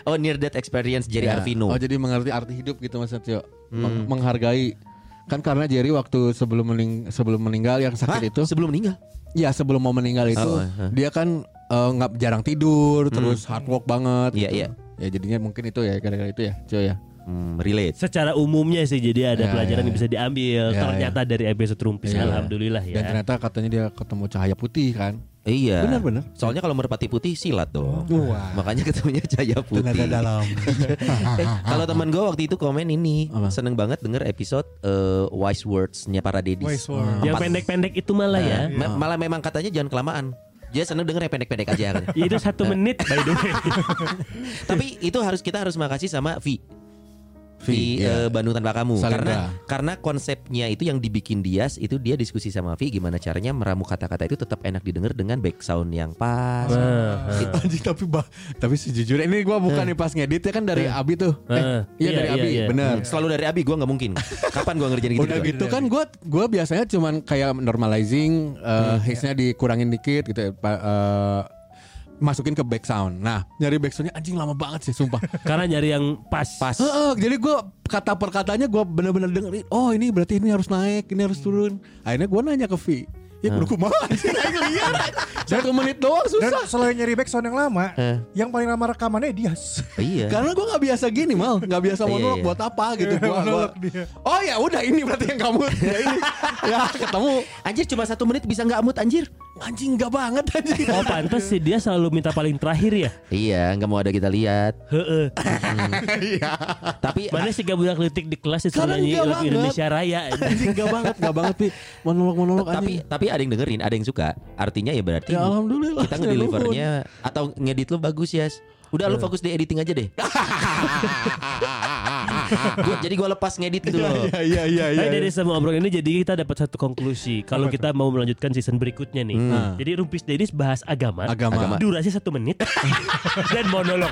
E: oh, near death experience Jerry
B: Ya.
E: Arvino. Hmm.
B: Oh jadi mengerti arti hidup gitu Mas Satyo. Meng- Menghargai kan karena Jerry waktu sebelum mening- sebelum meninggal yang
E: Hah?
B: sakit itu
E: sebelum meninggal.
B: ya sebelum mau meninggal itu
E: Oh, eh.
B: dia kan eh, nggak jarang tidur terus hard work banget
E: Iya,
B: gitu.
E: iya.
B: ya jadinya mungkin itu ya gara-gara itu ya cuy ya
E: Hmm, relate.
A: Secara umumnya sih jadi ada
B: Ya,
A: pelajaran
B: ya,
A: yang bisa diambil
B: Ya,
A: ternyata dari episode rumpis
B: Ya.
A: alhamdulillah ya.
B: Dan ternyata katanya dia ketemu cahaya putih kan.
E: Iya.
B: Benar, benar.
E: Soalnya kalau merpati putih silat dong.
B: Wah.
E: Makanya ketemunya cahaya putih.
B: Tenaga dalam.
E: Eh, kalau teman gue waktu itu komen ini
B: Apa?
E: seneng banget denger episode eh, wise words-nya para
C: Wise
E: dedis.
C: word.
A: yang
E: Empat.
A: pendek-pendek itu malah ya.
B: Iya.
E: Nah, me- malah memang katanya jangan kelamaan. Dia seneng denger yang pendek-pendek aja kan.
A: ya.
B: Iya.
A: Itu satu menit by the way.
E: Tapi itu harus kita harus makasih sama Vi.
B: Vi,
E: Vi
B: iya.
E: eh, Bandung tanpa kamu
B: Salinta.
E: karena karena konsepnya itu yang dibikin Dias itu dia diskusi sama Vi gimana caranya meramu kata-kata itu tetap enak didengar dengan back sound yang pas.
B: Nah. Anjing tapi bah, tapi sejujurnya ini gua bukan
E: Hmm.
B: nih pas ngedit ya kan dari Abi tuh.
A: Eh,
B: Eh, iya
A: iya,
B: dari
A: iya,
B: Abi,
A: iya.
B: benar.
E: Hmm, Selalu dari Abi gue nggak mungkin. Kapan gue ngerjain gitu?
B: Udah
E: juga?
C: Iya,
B: gitu kan gue gua biasanya cuman kayak normalizing uh,
E: Hmm.
B: hiss-nya dikurangin dikit gitu ya, pa- uh, masukin ke back sound. Nah, nyari back soundnya anjing lama banget sih sumpah.
A: Karena nyari yang pas.
E: Pas.
B: Heeh, jadi gue kata per katanya gue bener-bener dengerin. Oh ini berarti ini harus naik, ini
E: Hmm.
B: harus turun. Akhirnya gue nanya ke Vi. Ya kudu kumaha sih aing lihat. Satu menit doang
C: Dan
B: susah.
C: selain nyari back sound yang lama,
E: Eh.
C: yang paling lama rekamannya Dias.
E: Iya.
B: Karena gue nggak biasa gini mal, nggak biasa
E: Iya, iya.
B: monolog buat apa gitu. Gua, gua,
C: Monolog dia.
B: oh ya udah ini berarti yang kamu ya ini ya ketemu
E: Anjir cuma satu menit bisa nggak mood anjir?
B: anjing nggak banget anjing.
A: Oh pantas sih dia selalu minta paling terakhir ya.
E: Iya, nggak mau ada kita lihat.
A: Heeh.
H: Iya.
E: Tapi
A: Mana sih gak budak litik di kelas itu
B: Karena
A: nyanyi
B: enggak
A: lagu
B: banget.
A: Indonesia Raya.
B: anjing gak banget gak banget pi monolog monolog
E: tapi
B: anjing
E: tapi ada yang dengerin, ada yang suka. Artinya ya berarti
B: ya alhamdulillah
E: kita ngedelivernya atau ngedit lu bagus ya. Udah lu fokus di editing aja deh. Gua- jadi gua lepas ngedit gitu loh.
B: ya ya ya ya
A: Tapi dari semua obrolan ini jadi kita dapat satu konklusi kalau kita mau melanjutkan season berikutnya nih.
B: Hmm.
A: Jadi Rumpis Dedis bahas agama,
B: Agama.
A: durasi satu menit dan monolog.